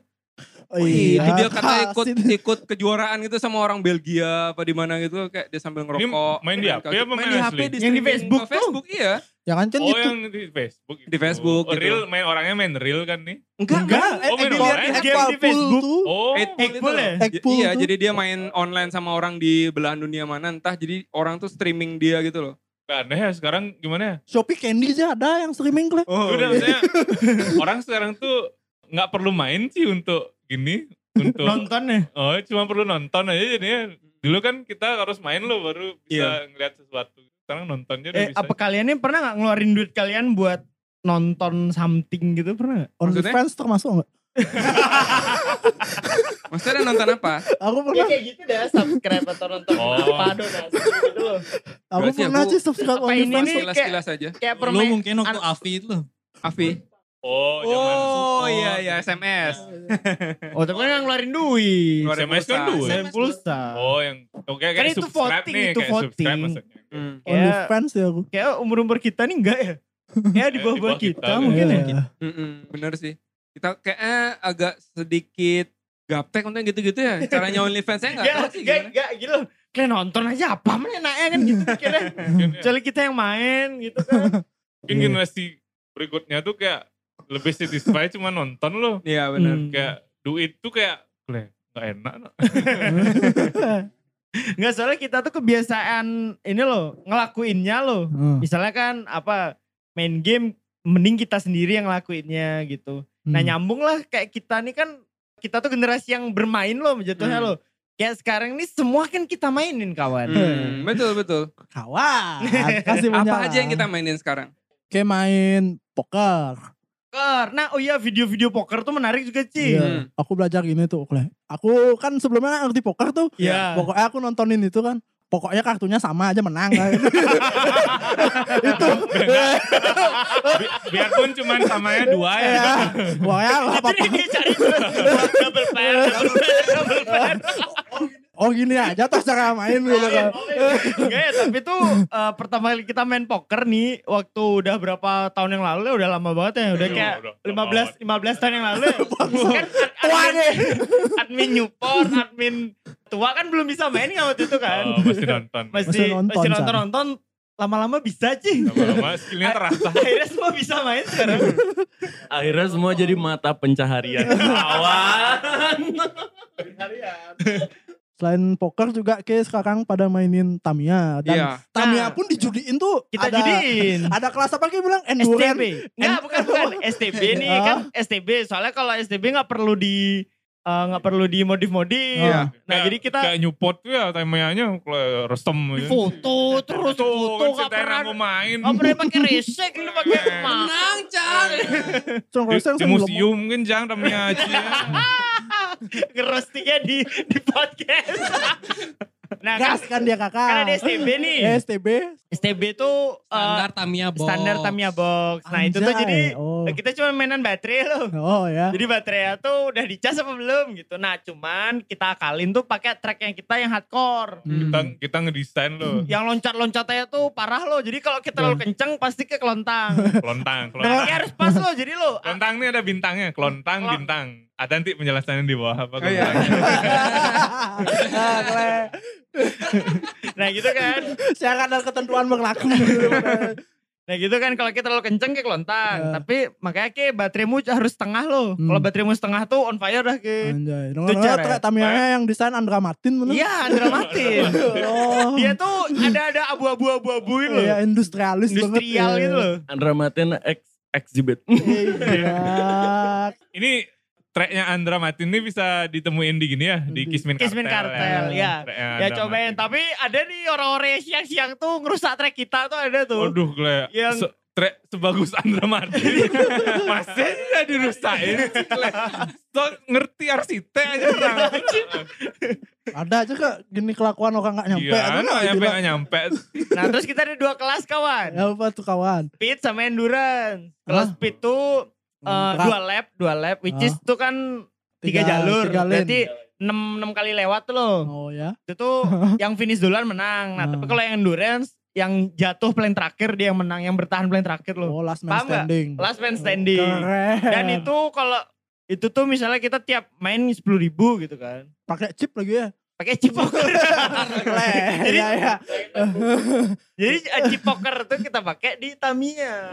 Speaker 5: Wih,
Speaker 1: Iya,
Speaker 5: dia kata ikut
Speaker 1: kasih.
Speaker 5: ikut kejuaraan gitu sama orang Belgia apa di mana gitu kayak dia sambil
Speaker 4: Ini
Speaker 5: ngerokok. Iya,
Speaker 4: main di HP apa
Speaker 5: main
Speaker 4: main
Speaker 5: di HP
Speaker 4: asli?
Speaker 5: di
Speaker 3: Yang di
Speaker 5: streaming
Speaker 3: Facebook
Speaker 5: ke
Speaker 3: tuh.
Speaker 5: Facebook iya.
Speaker 1: Ya kan kan
Speaker 4: Oh
Speaker 1: itu.
Speaker 4: yang di Facebook.
Speaker 5: Di Facebook
Speaker 4: Oh,
Speaker 5: gitu.
Speaker 4: real main orangnya main real kan nih.
Speaker 5: Enggak, enggak.
Speaker 4: eh, Oh, main biliar di
Speaker 1: Egg
Speaker 3: game
Speaker 1: ball
Speaker 3: di
Speaker 1: pool
Speaker 3: Facebook.
Speaker 1: tuh.
Speaker 4: Oh.
Speaker 3: Eggpool ya?
Speaker 1: Eggpool
Speaker 5: iya,
Speaker 1: tuh.
Speaker 5: jadi dia main online sama orang di belahan dunia mana entah. Jadi orang tuh streaming dia gitu loh.
Speaker 4: Gak aneh ya sekarang gimana ya?
Speaker 1: Shopee Candy aja ada yang streaming Kleh.
Speaker 3: Gitu.
Speaker 4: Udah maksudnya orang sekarang tuh nggak perlu main sih untuk gini untuk
Speaker 3: Nonton ya.
Speaker 4: oh cuma perlu nonton aja jadinya. Dulu kan kita harus main loh baru bisa ngeliat sesuatu. Sekarang nontonnya udah
Speaker 3: Iya. Eh
Speaker 4: bisa.
Speaker 3: apa kalian ini pernah nggak ngeluarin duit kalian buat nonton something gitu pernah nggak?
Speaker 5: Maksudnya?
Speaker 1: OnlyFans termasuk enggak?
Speaker 5: Maksudnya dia nonton apa?
Speaker 1: Aku pernah
Speaker 3: kayak gitu deh subscribe atau nonton
Speaker 4: Oh.
Speaker 3: Padu dah, gitu loh.
Speaker 1: aku
Speaker 5: Berarti
Speaker 1: pernah
Speaker 5: aku-
Speaker 1: sih subscribe
Speaker 3: Apa ini
Speaker 1: OnlyFans.
Speaker 3: nih? kayak-
Speaker 5: Sekilas-sekilas aja.
Speaker 3: Kayak
Speaker 7: Lu mungkin waktu
Speaker 3: an-
Speaker 7: Avi itu loh.
Speaker 5: Avi.
Speaker 4: Oh, zaman
Speaker 5: Oh, iya iya SMS.
Speaker 3: Oh tapi kan nggak ngeluarin duit.
Speaker 5: Ngeluarin
Speaker 4: SMS kan
Speaker 5: pulsa.
Speaker 4: duit.
Speaker 3: Ngeluarin pulsa.
Speaker 4: Oh yang oke
Speaker 3: Kan
Speaker 4: kayak
Speaker 3: itu
Speaker 4: subscribe
Speaker 3: voting,
Speaker 4: nih,
Speaker 3: itu
Speaker 4: kayak subscribe
Speaker 3: voting. Mhm.
Speaker 4: maksudnya.
Speaker 5: Hmm.
Speaker 3: Kayak
Speaker 1: OnlyFans ya aku.
Speaker 3: kayak "Oh, umur-umur kita nih enggak ya? Ya
Speaker 4: Di
Speaker 3: di bawah-bawah
Speaker 4: bawah kita,
Speaker 3: kita
Speaker 4: kan.
Speaker 3: mungkin ya.
Speaker 1: Iya.
Speaker 5: Mm-mm, hmm, bener sih. Kita kayaknya agak sedikit gaptek untuk gitu-gitu ya. Caranya OnlyFans-nya gak
Speaker 4: Iya,
Speaker 3: Gak,
Speaker 5: tau sih
Speaker 3: gak,
Speaker 5: gimana.
Speaker 3: gak gitu. Kalian nonton aja apa mana enaknya kan gitu pikirnya.
Speaker 4: Mungkin ya.
Speaker 3: Kecuali kita yang main gitu kan.
Speaker 4: Mungkin generasi berikutnya tuh kayak lebih satisfied cuma nonton loh.
Speaker 5: Iya bener.
Speaker 3: Hmm.
Speaker 4: Kayak duit tuh kayak "Leh, nggak enak. no."
Speaker 3: Enggak soalnya kita tuh kebiasaan ini loh ngelakuinnya loh.
Speaker 1: Hmm.
Speaker 3: Misalnya kan apa main game mending kita sendiri yang ngelakuinnya gitu.
Speaker 1: hmm.
Speaker 3: Nah
Speaker 5: Hmm.
Speaker 3: nyambung lah kayak kita nih kan kita tuh generasi yang bermain loh jatuhnya
Speaker 5: Hmm.
Speaker 3: loh. Kayak sekarang ini semua kan kita mainin kawan.
Speaker 5: Hmm, betul betul.
Speaker 1: Kawan. Kasih
Speaker 5: Apa
Speaker 1: menyala.
Speaker 5: aja yang kita mainin sekarang?
Speaker 1: Kayak main poker.
Speaker 3: Poker. Nah oh iya video-video poker tuh menarik juga
Speaker 5: Hmm.
Speaker 3: Ci.
Speaker 1: Iya. Aku belajar gini tuh, Kleh. Aku kan sebelumnya nggak ngerti poker tuh.
Speaker 3: Iya.
Speaker 1: Pokoknya aku nontonin itu kan. Pokoknya kartunya sama aja menang. kan. itu.
Speaker 4: Bi- biarpun cuma samanya dua ya.
Speaker 1: Ya. Pokoknya nggak apa-apa.
Speaker 3: Jadi dia cari terus double pair, double pair, double pair.
Speaker 1: Oh gini aja tuh cara main gitu kan.
Speaker 3: Iya. Enggak ya, tapi tuh eh, pertama kali kita main poker nih waktu udah berapa tahun yang lalu ya udah lama banget ya, udah
Speaker 4: Iya,
Speaker 3: kayak
Speaker 4: udah lama
Speaker 3: 15 15 tahun yang lalu. ya. kan ad-
Speaker 1: Tua
Speaker 3: admin,
Speaker 1: nih.
Speaker 3: admin Newport, admin tua kan belum bisa main kan waktu itu kan.
Speaker 4: Oh, masih nonton.
Speaker 1: Masih
Speaker 3: masih
Speaker 1: nonton,
Speaker 3: masih
Speaker 1: San.
Speaker 3: nonton-nonton lama-lama bisa sih.
Speaker 4: Lama-lama skillnya terasa.
Speaker 3: Akhirnya semua bisa main sekarang.
Speaker 6: Akhirnya semua jadi mata pencaharian. Kawan.
Speaker 1: Selain poker juga kayak sekarang pada mainin Tamiya. Dan
Speaker 5: Iya.
Speaker 1: Tamiya
Speaker 3: Nah,
Speaker 1: pun dijudiin tuh.
Speaker 3: Kita
Speaker 1: ada,
Speaker 3: judiin.
Speaker 1: Ada kelas apa kayak bilang?
Speaker 3: STB.
Speaker 1: Endurance.
Speaker 3: Enggak, bukan bukan STB nih
Speaker 1: Ah.
Speaker 3: kan STB. Soalnya kalau STB nggak perlu di eh, nggak perlu di modif-modif.
Speaker 1: Iya.
Speaker 3: Nah, jadi kita
Speaker 4: kayak nyupot tuh ya temanya kalau resem
Speaker 3: di
Speaker 4: ya.
Speaker 3: foto terus foto
Speaker 4: ceritanya
Speaker 3: nggak pernah
Speaker 4: aku main.
Speaker 3: nggak pernah pakai resek lu pakai mah.
Speaker 7: Menang, Cang.
Speaker 1: Cuma kalau saya
Speaker 4: Di, di
Speaker 1: langsung
Speaker 4: museum mungkin jangan namanya aja. ya.
Speaker 3: Ngerostinya di di podcast. nah,
Speaker 1: Gas kan
Speaker 3: kan,
Speaker 1: dia kakak.
Speaker 3: kan ada STB nih.
Speaker 1: Eh, STB.
Speaker 3: STB tuh eh,
Speaker 7: Standar Tamiya box.
Speaker 3: standar Tamiya box. Nah itu tuh
Speaker 1: Anjay,
Speaker 3: jadi
Speaker 1: oh.
Speaker 3: kita cuma mainan baterai loh.
Speaker 1: Oh ya.
Speaker 3: Jadi baterainya tuh udah dicas apa belum gitu. Nah cuman kita akalin tuh pakai track yang kita yang hardcore.
Speaker 1: Hmm.
Speaker 4: Kita, kita ngedesain lo.
Speaker 3: Yang loncat-loncatnya tuh parah loh. Jadi kalau kita
Speaker 1: Iya.
Speaker 3: terlalu kenceng pasti ke kelontang.
Speaker 4: Kelontang, kelontang.
Speaker 3: Tapi harus pas loh. Jadi lo
Speaker 4: Kelontang ini ada bintangnya, kelontang, bintang. Ada nanti penjelasannya di bawah apa.
Speaker 5: Oh, iya.
Speaker 4: kelontang.
Speaker 1: Ah, kle.
Speaker 3: Nah gitu kan.
Speaker 1: Saya akan ada ketentuan berlaku.
Speaker 3: Nah gitu kan kalau kita terlalu kenceng kayak kelontang.
Speaker 1: Eh.
Speaker 3: Tapi makanya ke bateraimu harus setengah loh.
Speaker 1: Hmm.
Speaker 3: Kalau bateraimu setengah tuh on fire dah ke.
Speaker 1: Anjay.
Speaker 3: Itu cara
Speaker 1: Dengar-dengar
Speaker 3: ya?
Speaker 1: Tamiya yang desain Andra Martin bener.
Speaker 3: Iya dramatis.
Speaker 1: Oh.
Speaker 3: Dia tuh ada-ada abu-abu abu-abuin loh.
Speaker 1: Iya, industrialis banget.
Speaker 3: Industrial
Speaker 1: ya.
Speaker 3: gitu loh.
Speaker 6: Andra Maten ex exhibit.
Speaker 1: Iya.
Speaker 4: Ini tracknya Andra Matin ini bisa ditemuin di gini ya, di
Speaker 1: Di
Speaker 4: Kismin Kartel.
Speaker 3: Kismin Kartel, ya.
Speaker 4: Tracknya
Speaker 3: Ya
Speaker 4: Andra
Speaker 3: cobain.
Speaker 4: Matin.
Speaker 3: Tapi ada nih orang-orang yang siang-siang tuh ngerusak track kita tuh ada
Speaker 5: gitu.
Speaker 3: tuh.
Speaker 4: Waduh, gue
Speaker 3: Yang-
Speaker 4: se- track sebagus Andra Martin masih aja dirusakin. sih, Gle. So, ngerti arsitek aja orang.
Speaker 1: Ada aja kak gini kelakuan orang gak nyampe.
Speaker 4: Iya,
Speaker 1: Aduh,
Speaker 5: gitu
Speaker 4: anak
Speaker 1: gila.
Speaker 4: nyampe nggak nyampe.
Speaker 3: Nah terus kita ada dua kelas kawan.
Speaker 1: Ya apa tuh kawan?
Speaker 3: Speed sama endurance. Kelas
Speaker 1: Hah?
Speaker 3: speed tuh eh,
Speaker 1: Berat.
Speaker 3: dua lap, dua lap. Which is tuh kan tiga, jalur.
Speaker 1: tiga lane.
Speaker 3: Berarti enam enam kali lewat tuh loh.
Speaker 1: Oh ya.
Speaker 3: Itu tuh yang finish duluan menang.
Speaker 1: Ah.
Speaker 3: Nah tapi kalau yang endurance yang jatuh plan terakhir dia yang menang. Yang bertahan plan terakhir loh.
Speaker 1: Oh last man
Speaker 3: Paham nggak?
Speaker 1: standing.
Speaker 3: Last man standing.
Speaker 1: Keren.
Speaker 3: Dan itu kalau itu tuh misalnya kita tiap main 10.000 ribu gitu kan.
Speaker 1: pakai chip lagi ya.
Speaker 3: Pakai chip poker.
Speaker 1: Jadi
Speaker 3: Jadi-
Speaker 1: ya, ya.
Speaker 3: Jadi eh, chip poker tuh kita pakai di Tamiya.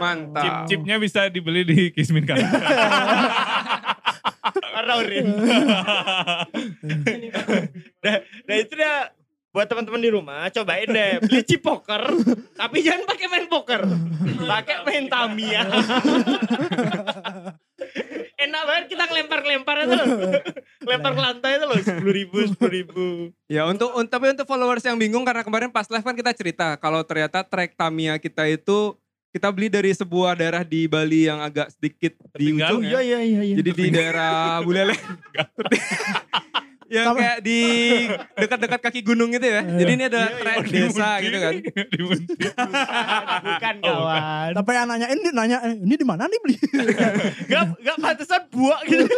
Speaker 4: Chip
Speaker 5: Mantap.
Speaker 4: chipnya bisa dibeli di Kismin Kartel.
Speaker 3: Warna orange. nah, nah itu dah buat teman-teman di rumah cobain deh beli chip poker tapi jangan pakai main poker pakai main Tamiya enak banget kita ngelempar-ngelempar itu loh lempar ke lantai itu loh sepuluh ribu sepuluh ribu
Speaker 5: Ya untuk un- tapi untuk followers yang bingung karena kemarin pas live kan kita cerita kalau ternyata track Tamiya kita itu kita beli dari sebuah daerah di Bali yang agak sedikit di
Speaker 4: Tertinggal
Speaker 5: ujung.
Speaker 4: ya?
Speaker 3: iya iya iya
Speaker 5: Jadi di daerah Buleleng. yang
Speaker 1: Sama.
Speaker 5: kayak di dekat-dekat kaki gunung gitu ya. Jadi ini
Speaker 3: Iya,
Speaker 5: ada track desa gitu kan.
Speaker 4: Di Munti.
Speaker 3: bukan kawan
Speaker 1: Tapi yang nanya ini nanya eh, ini di mana nih beli?
Speaker 3: Nah, gak gak pantesan buak gitu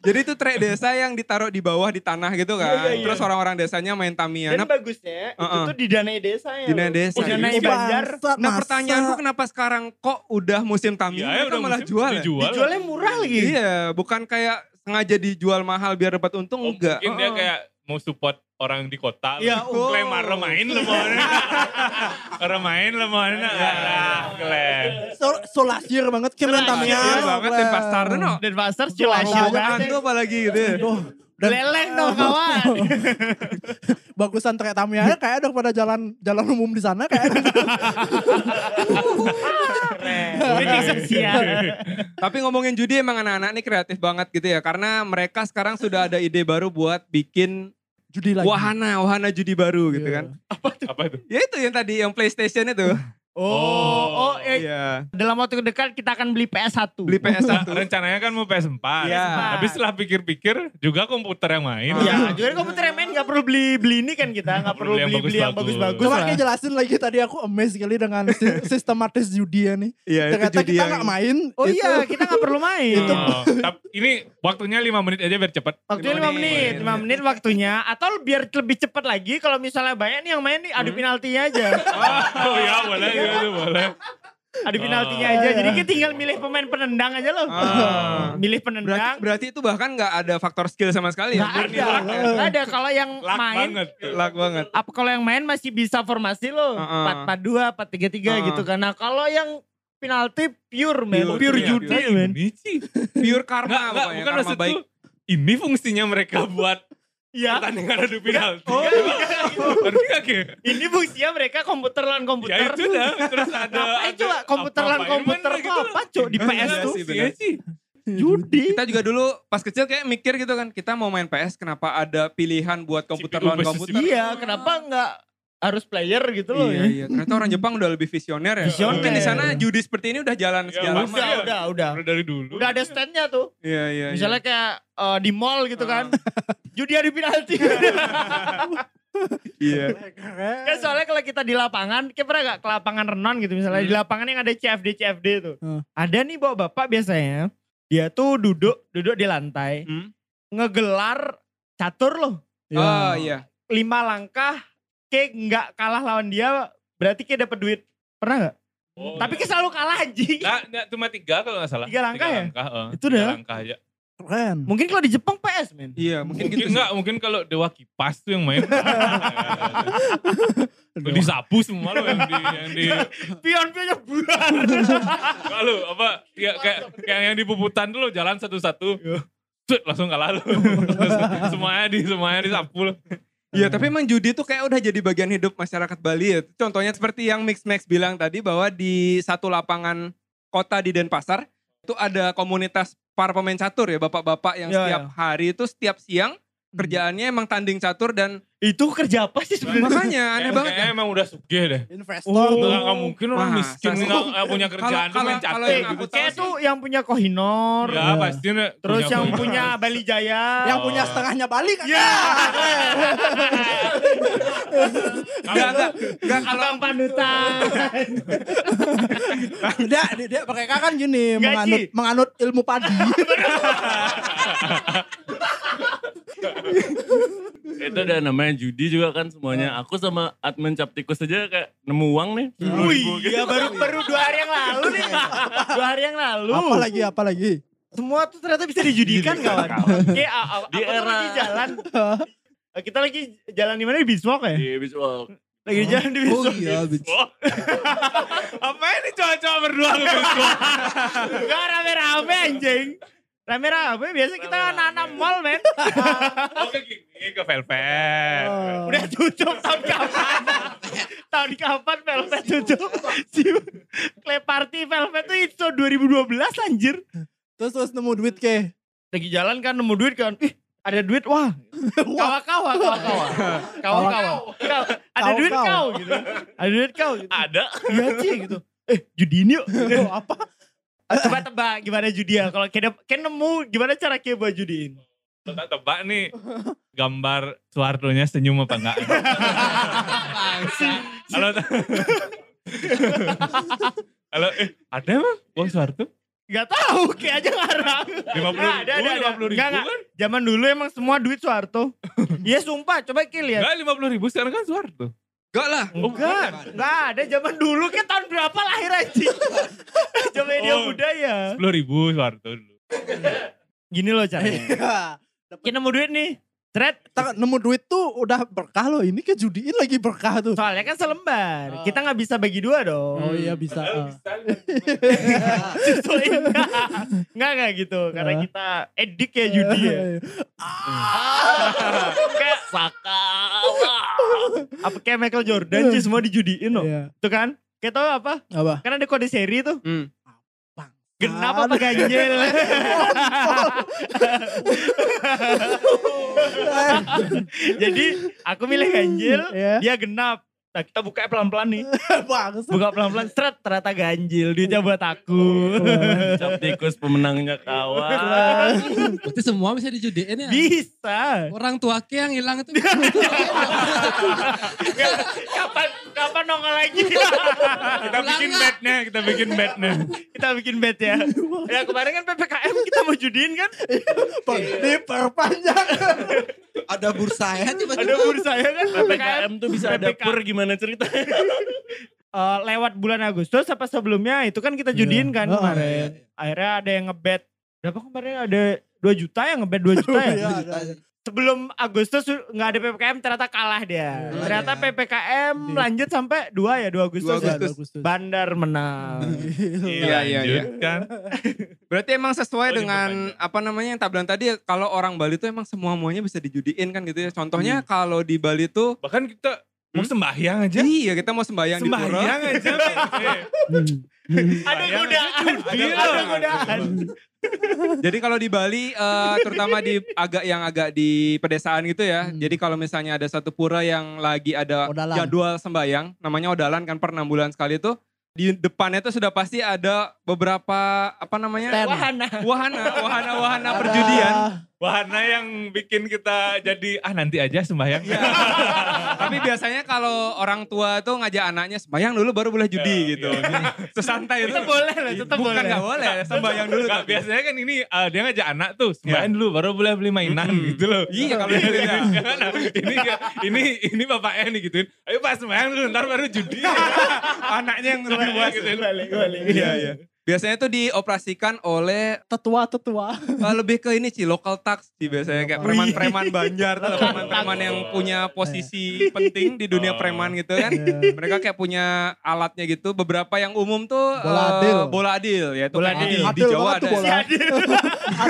Speaker 5: Jadi itu track desa yang ditaruh di bawah di tanah gitu kan.
Speaker 3: Iya, iya, iya.
Speaker 5: Terus orang-orang desanya main Tamiya.
Speaker 3: dan
Speaker 5: Nah,
Speaker 3: bagusnya itu
Speaker 5: Uh-uh.
Speaker 3: tuh didanai desa ya
Speaker 5: Didanai desa.
Speaker 1: Iya.
Speaker 3: didanai
Speaker 5: Serius?
Speaker 3: banjar
Speaker 1: Bangsat,
Speaker 5: nah
Speaker 1: masa.
Speaker 5: pertanyaanku kenapa sekarang kok udah musim Tamiya
Speaker 4: Iya, ya
Speaker 5: mereka
Speaker 4: udah
Speaker 5: kan malah
Speaker 4: musim
Speaker 5: jual ya?
Speaker 4: dijual.
Speaker 3: dijualnya murah lagi
Speaker 5: Iya, bukan kayak sengaja dijual mahal biar dapat untung
Speaker 4: Oh,
Speaker 5: enggak. Ya,
Speaker 4: Mungkin dia
Speaker 5: Heeh.
Speaker 4: kayak mau support orang di kota.
Speaker 3: Iya,
Speaker 4: oh. Klem orang main lah mau Orang main lah Nah, mau
Speaker 5: Iya.
Speaker 4: Arah, klem.
Speaker 1: Sol- solasir banget keren Tamiya.
Speaker 5: Iya banget dan pasar no.
Speaker 3: dan pasar cilasir
Speaker 1: Mahal
Speaker 5: Bawaan
Speaker 3: banget
Speaker 5: tuh apalagi gitu. ya.
Speaker 1: Duh, dan-
Speaker 3: leleng dong kawan
Speaker 1: bagusan trek Tamiya kayak ada pada jalan jalan umum di sana kayak
Speaker 3: ini keseksian
Speaker 5: Tapi ngomongin judi emang anak-anak ini kreatif banget gitu ya karena mereka sekarang sudah ada ide baru buat bikin
Speaker 1: judi lagi.
Speaker 5: wahana, wahana judi baru gitu
Speaker 1: Iya.
Speaker 5: kan.
Speaker 4: Apa itu?
Speaker 5: Ya itu yang tadi yang PlayStation itu.
Speaker 3: oh oh eh,
Speaker 5: Iya.
Speaker 3: dalam waktu dekat kita akan beli PS1
Speaker 5: Beli PS1.
Speaker 4: Rencananya kan mau PS4.
Speaker 5: Iya.
Speaker 4: Tapi setelah pikir-pikir juga komputer yang main.
Speaker 3: Ya, juga komputer yang main gak perlu beli beli ini kan kita, gak perlu
Speaker 4: Beli yang
Speaker 3: beli beli yang
Speaker 4: bagus-bagus.
Speaker 3: bagus-bagus
Speaker 1: Coba
Speaker 3: lah.
Speaker 1: kayak jelasin lagi tadi aku amazed sekali dengan si- sistematis judi ya nih.
Speaker 5: Iya, itu
Speaker 1: Ternyata
Speaker 5: judi
Speaker 1: kita
Speaker 5: yang-
Speaker 1: nggak main.
Speaker 3: Oh
Speaker 1: itu-
Speaker 3: iya, kita gak perlu main.
Speaker 1: Itu-
Speaker 4: Oh, tap- ini waktunya 5 menit aja biar cepet.
Speaker 3: Waktunya 5 menit, 5 menit waktunya. Atau biar lebih cepat lagi kalau misalnya banyak nih yang main nih adu penaltinya aja. iya,
Speaker 4: Oh ya boleh, ya, itu boleh.
Speaker 3: Adu penaltinya aja. Jadi kita tinggal milih pemain penendang aja loh.
Speaker 5: Ah.
Speaker 3: Milih
Speaker 5: Berarti,
Speaker 3: penendang.
Speaker 5: berarti itu bahkan nggak ada faktor skill sama sekali ya.
Speaker 3: Gak ada. Gak ada kalau yang
Speaker 4: Lak
Speaker 3: main
Speaker 4: banget.
Speaker 5: Luck Iya, banget.
Speaker 3: apa kalau yang main masih bisa formasi lo
Speaker 5: Heeh.
Speaker 3: empat empat dua empat tiga tiga
Speaker 5: Heeh.
Speaker 3: gitu kan nah kalau yang penalti pure men
Speaker 5: Pure,
Speaker 3: pure,
Speaker 5: pure,
Speaker 3: judi men
Speaker 4: Iya,
Speaker 3: Nah,
Speaker 4: Ini sih.
Speaker 5: Pure
Speaker 4: Enggak,
Speaker 5: karma
Speaker 4: enggak,
Speaker 5: pokoknya,
Speaker 4: bukan
Speaker 5: karma
Speaker 4: maksud
Speaker 5: baik.
Speaker 4: baik. Ini fungsinya mereka buat
Speaker 3: ya
Speaker 4: pertandingan adu penalti.
Speaker 3: Oh,
Speaker 4: kan? Ngerti gak, Ki?
Speaker 3: ini fungsinya mereka komputer lawan
Speaker 4: Ya
Speaker 3: komputer
Speaker 4: itu dah. Terus ada.
Speaker 3: ngapain
Speaker 4: ada-
Speaker 3: coba komputer
Speaker 4: apa-
Speaker 3: lawan
Speaker 4: ngapain
Speaker 3: komputer
Speaker 4: mereka
Speaker 3: kok
Speaker 4: gitu?
Speaker 3: apa cok di
Speaker 5: Iya
Speaker 3: PS tuh
Speaker 5: sih,
Speaker 4: Iya
Speaker 5: benar.
Speaker 4: sih.
Speaker 3: judi
Speaker 5: Kita juga dulu pas kecil kayak mikir gitu kan, kita mau main PS kenapa ada pilihan buat komputer
Speaker 4: CPU
Speaker 5: lawan
Speaker 4: versus
Speaker 5: komputer.
Speaker 3: iya kenapa nggak harus player gitu loh
Speaker 5: Iya,
Speaker 3: ya.
Speaker 5: iya. Ternyata orang Jepang udah lebih visioner ya.
Speaker 3: Visioner.
Speaker 5: Mungkin di sana judi seperti ini udah jalan
Speaker 4: Iya,
Speaker 5: sejak
Speaker 3: udah
Speaker 5: lama.
Speaker 4: pasti.
Speaker 3: udah udah udah
Speaker 4: Udah dari dulu.
Speaker 3: ada standnya tuh
Speaker 5: Iya, iya.
Speaker 3: misalnya kayak eh, di mall gitu kan judi adu penalti
Speaker 5: Iya.
Speaker 3: Kan soalnya kalau kita di lapangan, kita pernah gak ke lapangan renon gitu misalnya di lapangan yang ada CFD CFD tuh.
Speaker 1: Hmm.
Speaker 3: Ada nih bawa bapak biasanya, dia tuh duduk duduk di lantai,
Speaker 5: Hmm.
Speaker 3: ngegelar catur loh.
Speaker 5: Oh iya.
Speaker 3: Lima langkah, ke nggak kalah lawan dia, berarti kayak dapet duit. Pernah gak?
Speaker 4: Oh,
Speaker 3: Tapi
Speaker 4: iya.
Speaker 3: kayak selalu kalah anjing.
Speaker 4: Nggak, nggak, cuma tiga kalau nggak salah.
Speaker 3: Tiga langkah ya?
Speaker 4: langkah, eh,
Speaker 3: Itu
Speaker 4: tiga
Speaker 3: dah.
Speaker 4: langkah aja.
Speaker 1: Keren.
Speaker 3: Mungkin kalau di Jepang PS men.
Speaker 5: Iya, mungkin
Speaker 4: Mungkin,
Speaker 5: gitu. sih.
Speaker 4: nggak, mungkin kalau Dewa Kipas tuh yang main. Lu disapu semua lo yang di, yang di
Speaker 3: Pion-pionnya buar.
Speaker 4: Enggak lu apa ya, kayak kayak yang di puputan dulu jalan satu-satu.
Speaker 5: Iya.
Speaker 4: Cet, langsung kalah lu. semuanya di semuanya disapu lu.
Speaker 5: Iya, tapi emang judi tuh kayak udah jadi bagian hidup masyarakat Bali ya. Contohnya seperti yang Mix Max bilang tadi bahwa di satu lapangan kota di Denpasar itu ada komunitas para pemain catur ya, bapak-bapak yang
Speaker 3: Iya,
Speaker 5: setiap hari itu setiap siang kerjaannya emang tanding catur dan
Speaker 3: Itu kerja apa sih sebenarnya?
Speaker 5: makanya aneh
Speaker 4: Kayak-
Speaker 5: banget ya.
Speaker 4: kayaknya emang udah sugih deh.
Speaker 1: Investor.
Speaker 3: Oh.
Speaker 4: Enggak enggak mungkin orang
Speaker 5: Masa
Speaker 4: miskin
Speaker 5: sih?
Speaker 4: enggak enggak punya kerjaan
Speaker 5: Kalau-
Speaker 4: tuh main
Speaker 5: kalau- kalau
Speaker 4: catur
Speaker 5: yang
Speaker 4: gitu.
Speaker 5: aku
Speaker 3: Kayak tuh yang punya Kohinor.
Speaker 4: Ya pasti nih.
Speaker 3: Terus yang punya Bali Jaya.
Speaker 1: Yang punya setengahnya balik kan?
Speaker 3: Oh. Ya.
Speaker 5: Enggak, enggak.
Speaker 3: Gak ya, kalau panutan.
Speaker 1: Dia, dia, dia mereka kan gini
Speaker 3: Gaji.
Speaker 1: menganut menganut ilmu padi.
Speaker 6: Itu udah namanya judi juga kan semuanya. Aku sama admin cap tikus aja kayak nemu uang nih.
Speaker 3: Wih, ya baru baru dua hari yang lalu nih. Dua hari yang lalu.
Speaker 1: apa lagi apa lagi?
Speaker 3: Semua tuh ternyata bisa dijudikan kawan. Oke, a- a- aku
Speaker 6: Di
Speaker 3: tuh
Speaker 6: era-
Speaker 3: lagi jalan. Eh, Kita lagi jalan di mana di Bismok ya?
Speaker 6: Di habis uang.
Speaker 3: Lagi jalan di
Speaker 2: Oh
Speaker 1: Ya,
Speaker 3: Bismok.
Speaker 2: iya,
Speaker 1: gitu.
Speaker 2: bitch.
Speaker 4: apa ini cowok-cowok berdua lu berdua?
Speaker 3: Enggak rame-rame anjing. Rame-rame biasa kita
Speaker 6: Rame-rame.
Speaker 3: anak-anak mall men.
Speaker 4: Oke gini ke Velvet.
Speaker 3: Iya.
Speaker 5: Oh.
Speaker 1: Oh.
Speaker 3: Udah tutup tahun kapan? tahun kapan Velvet tutup? Si Clay Party Velvet tuh itu 2012 anjir.
Speaker 1: Terus terus nemu duit ke.
Speaker 3: Lagi jalan kan nemu duit kan. Ih, ada duit wah. Kawa-kawa, kawa-kawa. Kawa-kawa. Kau, Ada
Speaker 1: Kau,
Speaker 3: duit
Speaker 1: kau.
Speaker 3: kau gitu. Ada duit kau gitu.
Speaker 6: Ada.
Speaker 3: Iya sih gitu. Eh, judiin yuk. apa? Coba tebak gimana judi ya. Kalau kayak dap- kayak nemu gimana cara kayak buat judiin.
Speaker 4: Tebak tebak nih gambar Suardonya senyum apa enggak? Halo. Halo, eh ada emang uang Suardo?
Speaker 3: Gak tahu, kayak aja ngarang.
Speaker 4: 50
Speaker 3: Nah, ada, ada, ada.
Speaker 4: ribu, 50 ribu
Speaker 3: Nggak, nggak.
Speaker 4: kan?
Speaker 3: Zaman dulu emang semua duit Soeharto. Iya sumpah, coba kita lihat.
Speaker 4: Enggak, 50 ribu sekarang kan Suardo.
Speaker 2: Enggak lah.
Speaker 3: Oh, Enggak, enggak ada zaman dulu kan tahun berapa lahir aja. Zaman dia
Speaker 4: Oh.
Speaker 3: budaya.
Speaker 4: 10 ribu Suardo dulu.
Speaker 3: Gini loh caranya.
Speaker 1: Iya.
Speaker 3: Kita nemu duit nih. Thread.
Speaker 1: Tak- nemu duit tuh udah berkah loh. Ini ke judiin lagi berkah tuh.
Speaker 3: Soalnya kan selembar. Kita nggak bisa bagi dua
Speaker 1: Oh
Speaker 3: dong.
Speaker 1: iya bisa. ah.
Speaker 3: Sesuai. Enggak, enggak gitu. Karena
Speaker 1: Ah.
Speaker 3: kita edik ya judi
Speaker 1: Iya,
Speaker 3: ya. kayak apa kayak Michael Jordan sih semua dijudiin loh.
Speaker 1: Iya.
Speaker 3: Tuh kan? Kayak tau apa?
Speaker 1: Apa?
Speaker 3: Kan ada kode seri tuh.
Speaker 5: Hmm.
Speaker 3: Genap apa ganjil?
Speaker 1: Eh,
Speaker 3: Jadi aku milih ganjil,
Speaker 1: Iya.
Speaker 3: dia genap. Nah kita buka pelan-pelan nih.
Speaker 1: Bangsa.
Speaker 3: Buka pelan-pelan, seret ternyata ganjil. Duitnya buat aku.
Speaker 6: Cap tikus pemenangnya kawan.
Speaker 7: Berarti semua bisa dijudiin ya.
Speaker 3: Bisa.
Speaker 7: Orang tua ke yang hilang itu.
Speaker 3: Kapan kapan nongol lagi?
Speaker 4: Kita bikin bednya, kita bikin bednya.
Speaker 3: kita bikin bet ya. Ya kemarin kan PPKM kita mau judiin kan.
Speaker 1: Diperpanjang.
Speaker 2: Ada bursanya
Speaker 3: Ada
Speaker 2: tiba-tiba.
Speaker 3: bursa ya kan
Speaker 6: PPKM tuh bisa ada
Speaker 3: PPKM.
Speaker 6: pur gimana ceritanya.
Speaker 3: Eh, lewat bulan Agustus apa sebelumnya itu kan kita judiin kan
Speaker 1: Iya. Oh,
Speaker 3: kemarin.
Speaker 2: iya,
Speaker 3: Akhirnya ada yang ngebet. Berapa kemarin ada 2 juta ya ngebet 2 juta ya.
Speaker 1: Iya.
Speaker 3: Sebelum Agustus su- nggak ada PPKM ternyata kalah dia.
Speaker 1: Iya.
Speaker 3: Ternyata
Speaker 2: Iya.
Speaker 3: PPKM
Speaker 1: Iya.
Speaker 3: lanjut sampai 2 ya 2 Agustus.
Speaker 5: Dua
Speaker 3: ya.
Speaker 5: Agustus.
Speaker 3: Bandar menang.
Speaker 5: Iya, iya, iya.
Speaker 4: Kan?
Speaker 5: Berarti emang sesuai
Speaker 4: Oh,
Speaker 5: dengan
Speaker 4: diperpanjang.
Speaker 5: apa namanya yang tablan tadi ya, kalau orang Bali tuh emang semua-muanya bisa dijudiin kan gitu ya. Contohnya kalau di Bali tuh
Speaker 4: Bahkan kita mau sembahyang aja.
Speaker 5: Iya kita mau sembahyang, di pura.
Speaker 4: Sembahyang aja. men.
Speaker 3: ada
Speaker 4: Bayangin
Speaker 3: godaan,
Speaker 4: judi
Speaker 3: ada
Speaker 4: loh.
Speaker 3: godaan.
Speaker 5: Jadi kalau di Bali eh, terutama di agak yang agak di pedesaan gitu ya.
Speaker 1: Hmm.
Speaker 5: Jadi kalau misalnya ada satu pura yang lagi ada
Speaker 1: Odalan.
Speaker 5: jadwal sembayang, namanya odalan kan per 6 bulan sekali itu di depannya itu sudah pasti ada beberapa apa namanya?
Speaker 1: Stand.
Speaker 3: Wahana.
Speaker 1: Ah,
Speaker 5: Wahana, wahana-wahana perjudian.
Speaker 4: wahana yang bikin kita jadi ah nanti aja sembahyang.
Speaker 5: Tapi biasanya kalau orang tua tuh ngajak anaknya sembahyang dulu baru boleh judi gitu.
Speaker 4: Sesantai itu.
Speaker 3: Tetap boleh lah, Iya, tetap
Speaker 5: Bukan
Speaker 3: boleh.
Speaker 5: nggak boleh, Iya, sembahyang dulu.
Speaker 4: Nggak, biasanya kan ini eh, dia ngajak anak tuh sembahyang dulu baru boleh beli mainan gitu loh.
Speaker 5: Iya, kalau
Speaker 4: Iya,
Speaker 5: boleh.
Speaker 4: jangan, nah, ini ini ini bapaknya nih gituin. Ayo Pak sembahyang dulu ntar baru judi. Anaknya yang lebih buat gitu.
Speaker 8: Iya, iya.
Speaker 5: Biasanya tuh dioperasikan oleh
Speaker 1: Tetua-tetua.
Speaker 5: eh, lebih ke ini sih local tax sih biasanya kayak preman-preman Banjar tuh preman-preman yang punya
Speaker 1: Iya.
Speaker 5: posisi penting di
Speaker 1: Oh.
Speaker 5: dunia preman gitu kan. Mereka kayak punya alatnya gitu. Beberapa yang umum tuh
Speaker 1: Bola
Speaker 5: eh,
Speaker 1: adil.
Speaker 5: bola adil ya itu
Speaker 3: Bola
Speaker 5: kayak
Speaker 3: adil.
Speaker 5: di- di,
Speaker 1: Adil
Speaker 5: Jawa
Speaker 1: banget
Speaker 5: ada.
Speaker 1: tuh bola.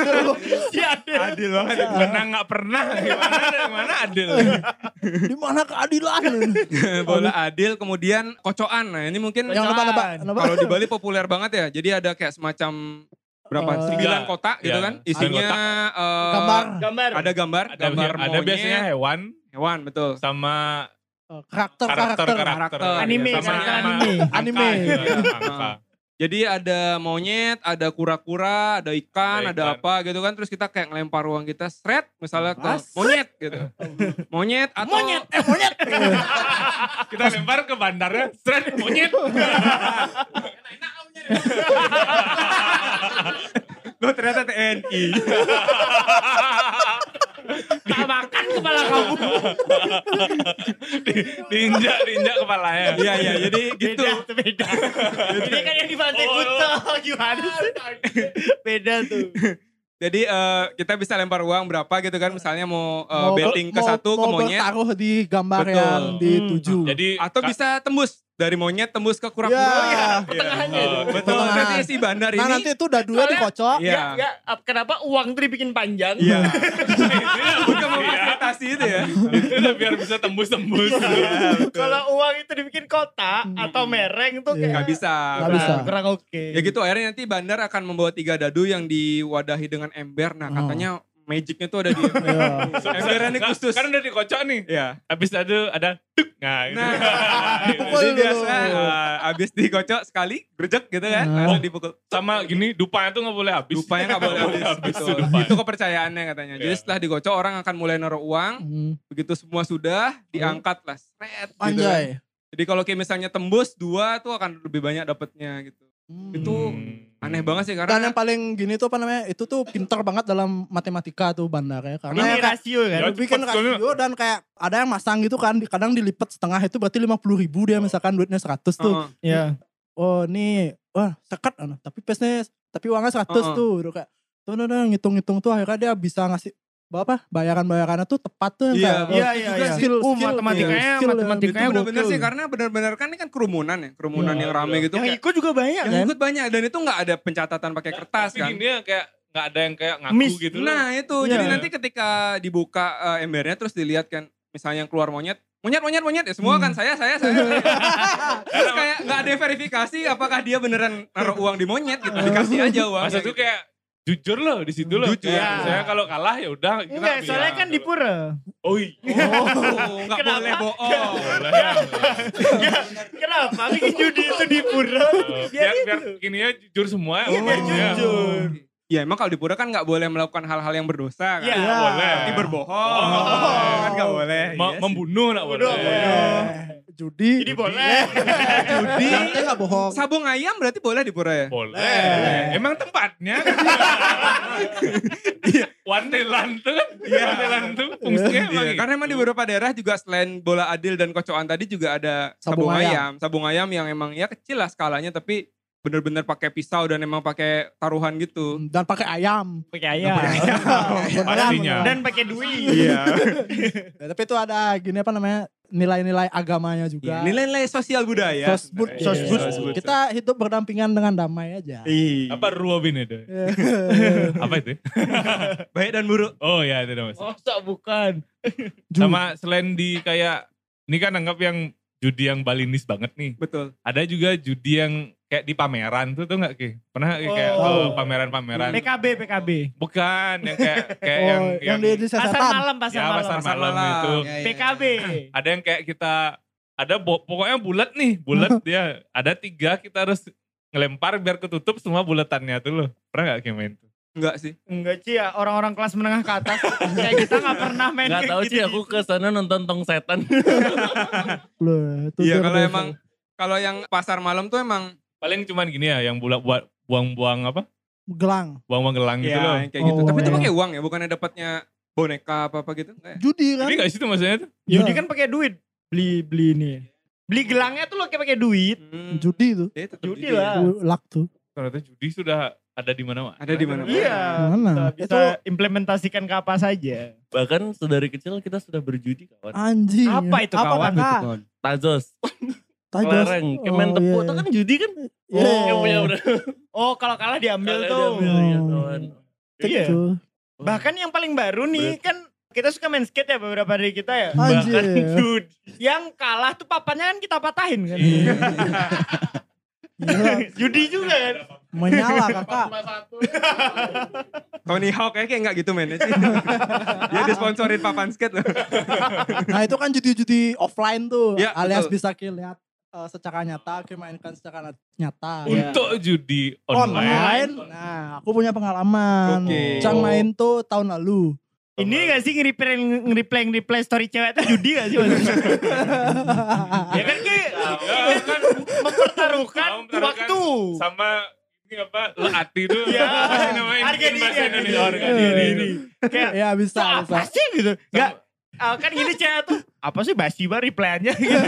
Speaker 1: Adil.
Speaker 3: Si Adel.
Speaker 4: Adil banget. Pernah nggak pernah. Gimana, gimana adil.
Speaker 1: Di mana keadilan?
Speaker 5: bola adil kemudian kocokan. Nah, ini mungkin
Speaker 1: Yang nebak-nebak. nebak.
Speaker 5: Kalau di Bali populer banget ya. Jadi ada kayak semacam berapa?
Speaker 1: Eh,
Speaker 5: Sembilan kotak gitu
Speaker 4: Iya.
Speaker 5: kan. Isinya eh,
Speaker 1: Gambar
Speaker 3: Gambar.
Speaker 5: Ada gambar,
Speaker 4: Ada,
Speaker 5: gambar
Speaker 4: ada
Speaker 5: monyet,
Speaker 4: biasanya hewan
Speaker 5: hewan betul.
Speaker 4: sama
Speaker 1: eh, karakter-karakter.
Speaker 4: karakter-karakter.
Speaker 3: Anime,
Speaker 4: Sama-
Speaker 3: karakter
Speaker 4: sama
Speaker 3: anime.
Speaker 4: angka
Speaker 1: Anime.
Speaker 4: gitu, angka.
Speaker 5: Jadi ada monyet, ada kura-kura, ada ikan,
Speaker 4: Ada
Speaker 5: ada
Speaker 4: ikan.
Speaker 5: apa gitu kan. Terus kita kayak ngelempar uang kita seret misalnya ke
Speaker 1: Mas.
Speaker 5: monyet gitu. Monyet atau
Speaker 3: Monyet. Eh, monyet.
Speaker 4: Kita lempar ke bandarnya, seret monyet.
Speaker 8: Lo ternyata TNI.
Speaker 3: Tak makan kepala kamu.
Speaker 4: diinjak, diinjak kepalanya.
Speaker 5: Iya iya jadi gitu.
Speaker 3: Beda, tuh beda. Ini kan yang di Pantai Kuta. Gimana sih? Beda tuh.
Speaker 5: Jadi eh, kita bisa lempar uang berapa gitu kan misalnya mau, eh,
Speaker 1: Mau-
Speaker 5: betting ke
Speaker 1: mau-
Speaker 5: satu ke
Speaker 1: mau
Speaker 5: monyet
Speaker 1: bertaruh di gambar
Speaker 5: Betul.
Speaker 1: yang dituju.
Speaker 4: Jadi
Speaker 5: atau
Speaker 4: ka-
Speaker 5: bisa tembus dari monyet tembus ke
Speaker 1: Ya.
Speaker 5: kura-kura.
Speaker 3: Iya, Pertengahannya
Speaker 4: Oh,
Speaker 3: itu.
Speaker 5: iya. Betul.
Speaker 1: Pertengahan.
Speaker 5: Nanti si bandar
Speaker 1: Nah
Speaker 5: ini
Speaker 1: nanti itu udah dua
Speaker 3: Soalnya-
Speaker 1: dikocok.
Speaker 5: Iya.
Speaker 3: Ya, ya, ap- kenapa uang tuh dibikin panjang?
Speaker 1: Iya.
Speaker 5: bukan
Speaker 4: Iya.
Speaker 5: memfasilitasi itu ya.
Speaker 4: itu udah biar bisa tembus-tembus.
Speaker 3: Kalau uang itu dibikin kotak atau mereng tuh
Speaker 1: Iya.
Speaker 5: Gak
Speaker 3: kayak
Speaker 5: bisa.
Speaker 1: Nggak bisa.
Speaker 3: Nah, Kurang oke.
Speaker 5: Ya gitu akhirnya nanti bandar akan membawa tiga dadu yang diwadahi dengan ember.
Speaker 1: Oh.
Speaker 5: Nah katanya magicnya tuh ada di
Speaker 1: Iya.
Speaker 5: embernya nih khusus.
Speaker 4: Kan udah dikocok nih.
Speaker 5: Iya.
Speaker 4: Habis itu ada tuk. Nah, gitu. Nah,
Speaker 5: Nah.
Speaker 1: Dipukul
Speaker 5: Jadi
Speaker 1: dulu.
Speaker 5: biasa eh, abis dikocok sekali, gerejek gitu kan.
Speaker 1: Hmm.
Speaker 5: Langsung dipukul.
Speaker 4: sama gini dupanya tuh gak boleh habis.
Speaker 5: Dupanya gak boleh habis. gitu.
Speaker 4: tuh dupanya.
Speaker 5: Itu kepercayaannya katanya. Jadi
Speaker 4: Iya.
Speaker 5: setelah dikocok orang akan mulai naruh uang.
Speaker 1: Hmm.
Speaker 5: Begitu semua sudah diangkat lah. Sret, gitu kan.
Speaker 1: Anjay.
Speaker 5: Jadi kalau kayak misalnya tembus dua tuh akan lebih banyak dapatnya gitu.
Speaker 1: Hmm.
Speaker 5: Itu aneh banget sih
Speaker 1: Dan
Speaker 5: karena
Speaker 1: yang paling gini tuh apa namanya? Itu tuh pinter banget dalam matematika tuh bandarnya karena
Speaker 3: Ini
Speaker 1: ya kayak
Speaker 3: rasio kan.
Speaker 4: Ya,
Speaker 1: bikin
Speaker 4: cepet soalnya.
Speaker 1: rasio dan kayak ada yang masang gitu kan, kadang dilipat setengah itu berarti 50 ribu dia misalkan duitnya 100 tuh.
Speaker 5: Heeh.
Speaker 3: Iya.
Speaker 1: Oh nih, wah sekat anu. tapi pesnya, tapi uangnya 100
Speaker 5: Heeh.
Speaker 1: tuh. Udah kayak, tuh nah, nah, ngitung-ngitung tuh akhirnya dia bisa ngasih apa bayaran-bayarannya tuh tepat tuh
Speaker 5: Iya,
Speaker 1: yang kayak,
Speaker 3: Iya,
Speaker 1: oh,
Speaker 3: iya,
Speaker 1: juga
Speaker 3: iya.
Speaker 1: skill,
Speaker 3: Uh,
Speaker 1: skill,
Speaker 3: matematikanya-
Speaker 1: skill yang
Speaker 3: matematikanya
Speaker 1: gitu.
Speaker 5: Itu bener-bener sih karena bener-bener kan ini kan kerumunan ya, kerumunan
Speaker 1: Iya,
Speaker 5: yang rame gitu.
Speaker 3: Yang
Speaker 5: kayak-
Speaker 3: ikut juga banyak
Speaker 5: yang
Speaker 3: kan.
Speaker 5: ikut banyak dan itu nggak ada pencatatan pakai kertas
Speaker 4: Tapi
Speaker 5: kan.
Speaker 4: gini ya kayak gak ada yang kayak ngaku
Speaker 3: Miss.
Speaker 4: gitu. loh.
Speaker 5: Nah itu
Speaker 1: Iya.
Speaker 5: jadi nanti ketika dibuka eh, embernya terus dilihat kan misalnya yang keluar monyet, monyet monyet monyet ya semua kan saya saya saya. saya. terus kayak nggak ada verifikasi apakah dia beneran naruh uang di monyet gitu dikasih aja gitu. uang.
Speaker 4: Masa tuh kayak jujur loh di situ loh.
Speaker 5: Jujur.
Speaker 4: Kayak
Speaker 3: Iya.
Speaker 4: Misalnya kalau kalah ya udah kita
Speaker 3: Enggak,
Speaker 4: bilang.
Speaker 3: soalnya kan di pura.
Speaker 4: Oh iya.
Speaker 5: Oh, nggak
Speaker 3: Kenapa?
Speaker 5: boleh bohong.
Speaker 3: iya Kenapa? Bikin judi itu di pura.
Speaker 4: biar
Speaker 3: Biar
Speaker 4: biar
Speaker 3: itu.
Speaker 4: gini ya jujur semua.
Speaker 3: gitu. Iya, biar
Speaker 4: Oh,
Speaker 3: jujur.
Speaker 5: Ya emang kalau di pura kan nggak boleh melakukan hal-hal yang berdosa kan.
Speaker 3: Iya.
Speaker 4: Nggak boleh.
Speaker 5: Seperti berbohong,
Speaker 4: Oh.
Speaker 5: kan nggak boleh.
Speaker 4: Me- membunuh nggak Iya, boleh.
Speaker 3: Udah,
Speaker 1: Eh, judi,
Speaker 3: Jadi Iya. boleh.
Speaker 7: Iya.
Speaker 1: judi, Tapi nggak bohong.
Speaker 2: Iya,
Speaker 5: Sabung ayam berarti boleh di pura ya?
Speaker 3: Iya.
Speaker 4: Boleh. Emang tempatnya. Wantilan tuh kan.
Speaker 3: Iya.
Speaker 4: Wantilan tuh fungsinya emang
Speaker 5: Iya. Iya,
Speaker 4: gitu.
Speaker 5: karena emang di beberapa daerah juga selain bola adil dan kocokan tadi juga ada sabung,
Speaker 1: Sabung
Speaker 5: ayam. Sabung ayam yang emang ya kecil lah skalanya tapi bener-bener pakai pisau dan emang pakai taruhan gitu.
Speaker 1: Dan pakai ayam.
Speaker 3: Pakai ayam.
Speaker 4: Iya. Pastinya.
Speaker 3: Dan Iya. pakai duit.
Speaker 4: Iya.
Speaker 1: Ya, tapi itu ada gini apa namanya nilai-nilai agamanya juga.
Speaker 5: Iya, ya. Nilai-nilai sosial budaya.
Speaker 1: Sosbud,
Speaker 4: Iya,
Speaker 1: sosbud.
Speaker 4: sosbud.
Speaker 1: Kita hidup berdampingan dengan damai aja.
Speaker 5: Iya.
Speaker 1: Iya.
Speaker 4: Apa ruobin itu? Apa itu?
Speaker 5: Baik dan buruk.
Speaker 4: Oh ya itu mas.
Speaker 3: Masa bukan.
Speaker 1: Ju-
Speaker 4: Sama selain di kayak ini kan anggap yang judi yang balinis banget nih.
Speaker 5: Betul.
Speaker 4: Ada juga judi yang kayak di pameran tuh tuh nggak Ki? Pernah nggak Ki? kayak
Speaker 3: Oh.
Speaker 4: eh, pameran-pameran?
Speaker 3: PKB, PKB.
Speaker 4: Bukan yang kayak kayak
Speaker 1: oh,
Speaker 4: yang
Speaker 1: yang, di di
Speaker 3: Pasar
Speaker 1: setan.
Speaker 3: malam, pasar
Speaker 4: ya,
Speaker 3: malam.
Speaker 4: pasar
Speaker 5: Pasar
Speaker 4: malam, Iya.
Speaker 5: malam.
Speaker 4: itu.
Speaker 2: Ya, ya, ya.
Speaker 3: PKB.
Speaker 4: Ada yang kayak kita ada bo- pokoknya bulat nih, bulat dia. Ada tiga kita harus ngelempar biar ketutup semua buletannya tuh loh. Pernah nggak Ki main? tuh?
Speaker 9: Enggak sih.
Speaker 3: Enggak sih ya, orang-orang kelas menengah ke atas. kayak kita gak pernah main
Speaker 6: Gak
Speaker 3: kayak
Speaker 6: tahu
Speaker 3: gitu.
Speaker 6: sih aku ke sana nonton tong setan.
Speaker 1: Loh, itu
Speaker 9: Iya
Speaker 1: dia
Speaker 9: kalau
Speaker 1: beda.
Speaker 9: emang kalau yang pasar malam tuh emang
Speaker 4: Paling cuman gini ya yang bulak buat buang-buang apa?
Speaker 1: gelang
Speaker 4: Buang-buang gelang gitu
Speaker 9: ya,
Speaker 4: loh.
Speaker 9: yang kayak
Speaker 1: Oh,
Speaker 9: gitu. Tapi itu
Speaker 1: iya.
Speaker 9: pakai uang ya, bukannya dapatnya boneka apa-apa gitu. Enggak. ya?
Speaker 1: judi kan Iya.
Speaker 4: Ini gak situ maksudnya tuh.
Speaker 3: Judi kan pakai duit. Beli beli ini. Beli gelangnya tuh lo kayak pakai duit.
Speaker 9: Hmm.
Speaker 1: judi itu
Speaker 9: Ya, tetap
Speaker 3: Judi
Speaker 9: judi ya.
Speaker 5: Ah.
Speaker 3: lah.
Speaker 1: lak tuh
Speaker 4: Ternyata judi sudah ada di mana-mana.
Speaker 9: Ada di mana-mana.
Speaker 3: Iya.
Speaker 1: Mana?
Speaker 3: Bisa, bisa implementasikan ke apa saja.
Speaker 6: Bahkan dari kecil kita sudah berjudi kawan.
Speaker 1: anjing
Speaker 3: Iya. Apa itu, kawan?
Speaker 1: kakak?
Speaker 6: Tazos,
Speaker 1: Tajos.
Speaker 6: kelereng, kemen
Speaker 1: Oh,
Speaker 6: tepu.
Speaker 1: iya,
Speaker 6: Itu kan
Speaker 1: iya.
Speaker 6: judi kan.
Speaker 1: Iya.
Speaker 6: Yang punya udah.
Speaker 3: Oh kalau kalah diambil
Speaker 6: Kalau
Speaker 3: tuh.
Speaker 6: diambil, iya,
Speaker 1: Oh.
Speaker 6: kawan.
Speaker 1: Cek
Speaker 3: Iya.
Speaker 1: tuh.
Speaker 3: Bahkan yang paling baru nih kan kita suka main skate ya beberapa dari kita ya.
Speaker 1: Anjir.
Speaker 3: Bahkan dude, yang kalah tuh papannya kan kita patahin kan.
Speaker 1: Gila,
Speaker 3: Judi juga kan.
Speaker 1: menyala kakak
Speaker 9: Tony Hawk kayaknya kayak enggak gitu
Speaker 5: ya
Speaker 9: mainnya sih. Dia disponsorin papan skate loh.
Speaker 1: nah itu kan judi-judi offline tuh
Speaker 9: Iya,
Speaker 1: alias
Speaker 9: betul.
Speaker 1: bisa lihat eh, secara nyata kita mainkan secara nyata Iya.
Speaker 4: Untuk judi
Speaker 3: Oh,
Speaker 4: online.
Speaker 1: online nah aku punya pengalaman
Speaker 9: Oke.
Speaker 1: Cang main tuh tahun lalu
Speaker 3: Ini gak sih nge-replay nge-replay nge-replay story cewek itu judi gak sih? maksudnya? ya kan Ki?
Speaker 4: Ya, kan
Speaker 3: mempertaruhkan
Speaker 4: Kamu mempertaruhkan
Speaker 3: waktu.
Speaker 4: sama ini apa? Leati tuh.
Speaker 3: Ya.
Speaker 4: Apa sih namanya?
Speaker 3: Harga
Speaker 4: Bikin
Speaker 3: diri,
Speaker 4: bahasa
Speaker 3: harga
Speaker 4: Indonesia.
Speaker 3: diri. Iya.
Speaker 4: Harga diri.
Speaker 3: Kayak
Speaker 1: ya
Speaker 3: "Tuh
Speaker 1: bisa
Speaker 3: apa
Speaker 1: bisa
Speaker 3: sih gitu. Gak, ah, kan gini cewek tuh, apa sih basi banget replayannya gitu.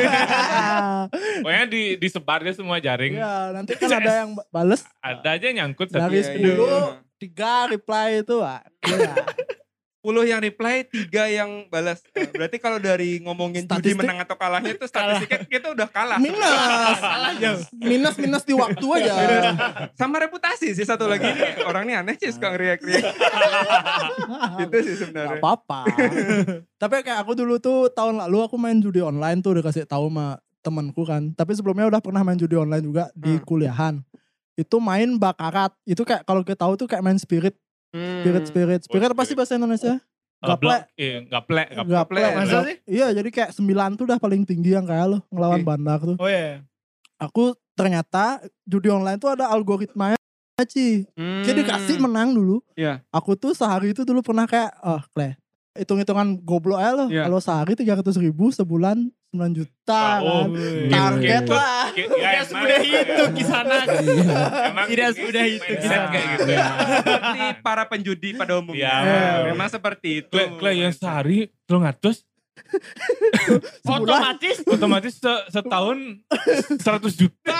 Speaker 4: Pokoknya di, disebar dia semua jaring.
Speaker 3: Iya.
Speaker 1: ya nanti kan ada yang ba- bales
Speaker 4: Ada aja yang nyangkut satu.
Speaker 1: dari
Speaker 9: Iya,
Speaker 1: 10 tiga reply itu ah, iya.
Speaker 9: 10 yang reply, 3 yang balas. Nah, Berarti kalau dari ngomongin judi
Speaker 1: Statistik.
Speaker 9: menang atau kalahnya itu statistiknya kita udah kalah.
Speaker 1: minus Ya, minus minus di waktu aja
Speaker 9: Sama reputasi sih satu lagi. Ini orang ini aneh sih suka ngeriak-riak. Itu sih
Speaker 1: Gak
Speaker 9: sebenarnya.
Speaker 1: apa-apa. Tapi kayak aku dulu tuh tahun lalu aku main judi online tuh udah kasih tahu sama temanku kan. Tapi sebelumnya udah pernah main judi online juga di kuliahan. Itu main bakarat. Itu kayak kalau kita tahu tuh kayak main spirit,
Speaker 5: Hmm.
Speaker 1: spirit, spirit. Spirit apa sih bahasa Indonesia? Gaplek.
Speaker 4: Gaplek. Iya, gaplek. gaplek.
Speaker 1: Gaplek.
Speaker 3: Masa sih?
Speaker 1: Iya jadi kayak 9 tuh udah paling tinggi yang kayak lo ngelawan
Speaker 9: Oke.
Speaker 1: bandar tuh.
Speaker 3: Oh iya.
Speaker 1: Aku ternyata judi online tuh ada algoritmanya Ci. Jadi kasih menang dulu.
Speaker 9: Iya.
Speaker 1: Aku tuh sehari itu dulu pernah kayak, oh Kle, hitung-hitungan goblok aja loh.
Speaker 9: Iya.
Speaker 1: Kalau sehari 300 ribu, sebulan 9 juta
Speaker 4: Oh,
Speaker 1: kan.
Speaker 4: iya.
Speaker 1: Target
Speaker 4: Iya.
Speaker 1: lah.
Speaker 4: Iya,
Speaker 3: Tidak
Speaker 4: emang-
Speaker 3: semudah itu kisanan.
Speaker 4: Iya. Emang
Speaker 3: Tidak
Speaker 4: ini
Speaker 3: semudah itu
Speaker 4: mindset
Speaker 3: kisanan.
Speaker 4: kayak gitu ya.
Speaker 9: Seperti para penjudi pada umumnya.
Speaker 4: Iya.
Speaker 9: Memang seperti itu.
Speaker 4: Kle, kle yang sehari 300
Speaker 3: Otomatis
Speaker 4: otomatis se- setahun 100 juta.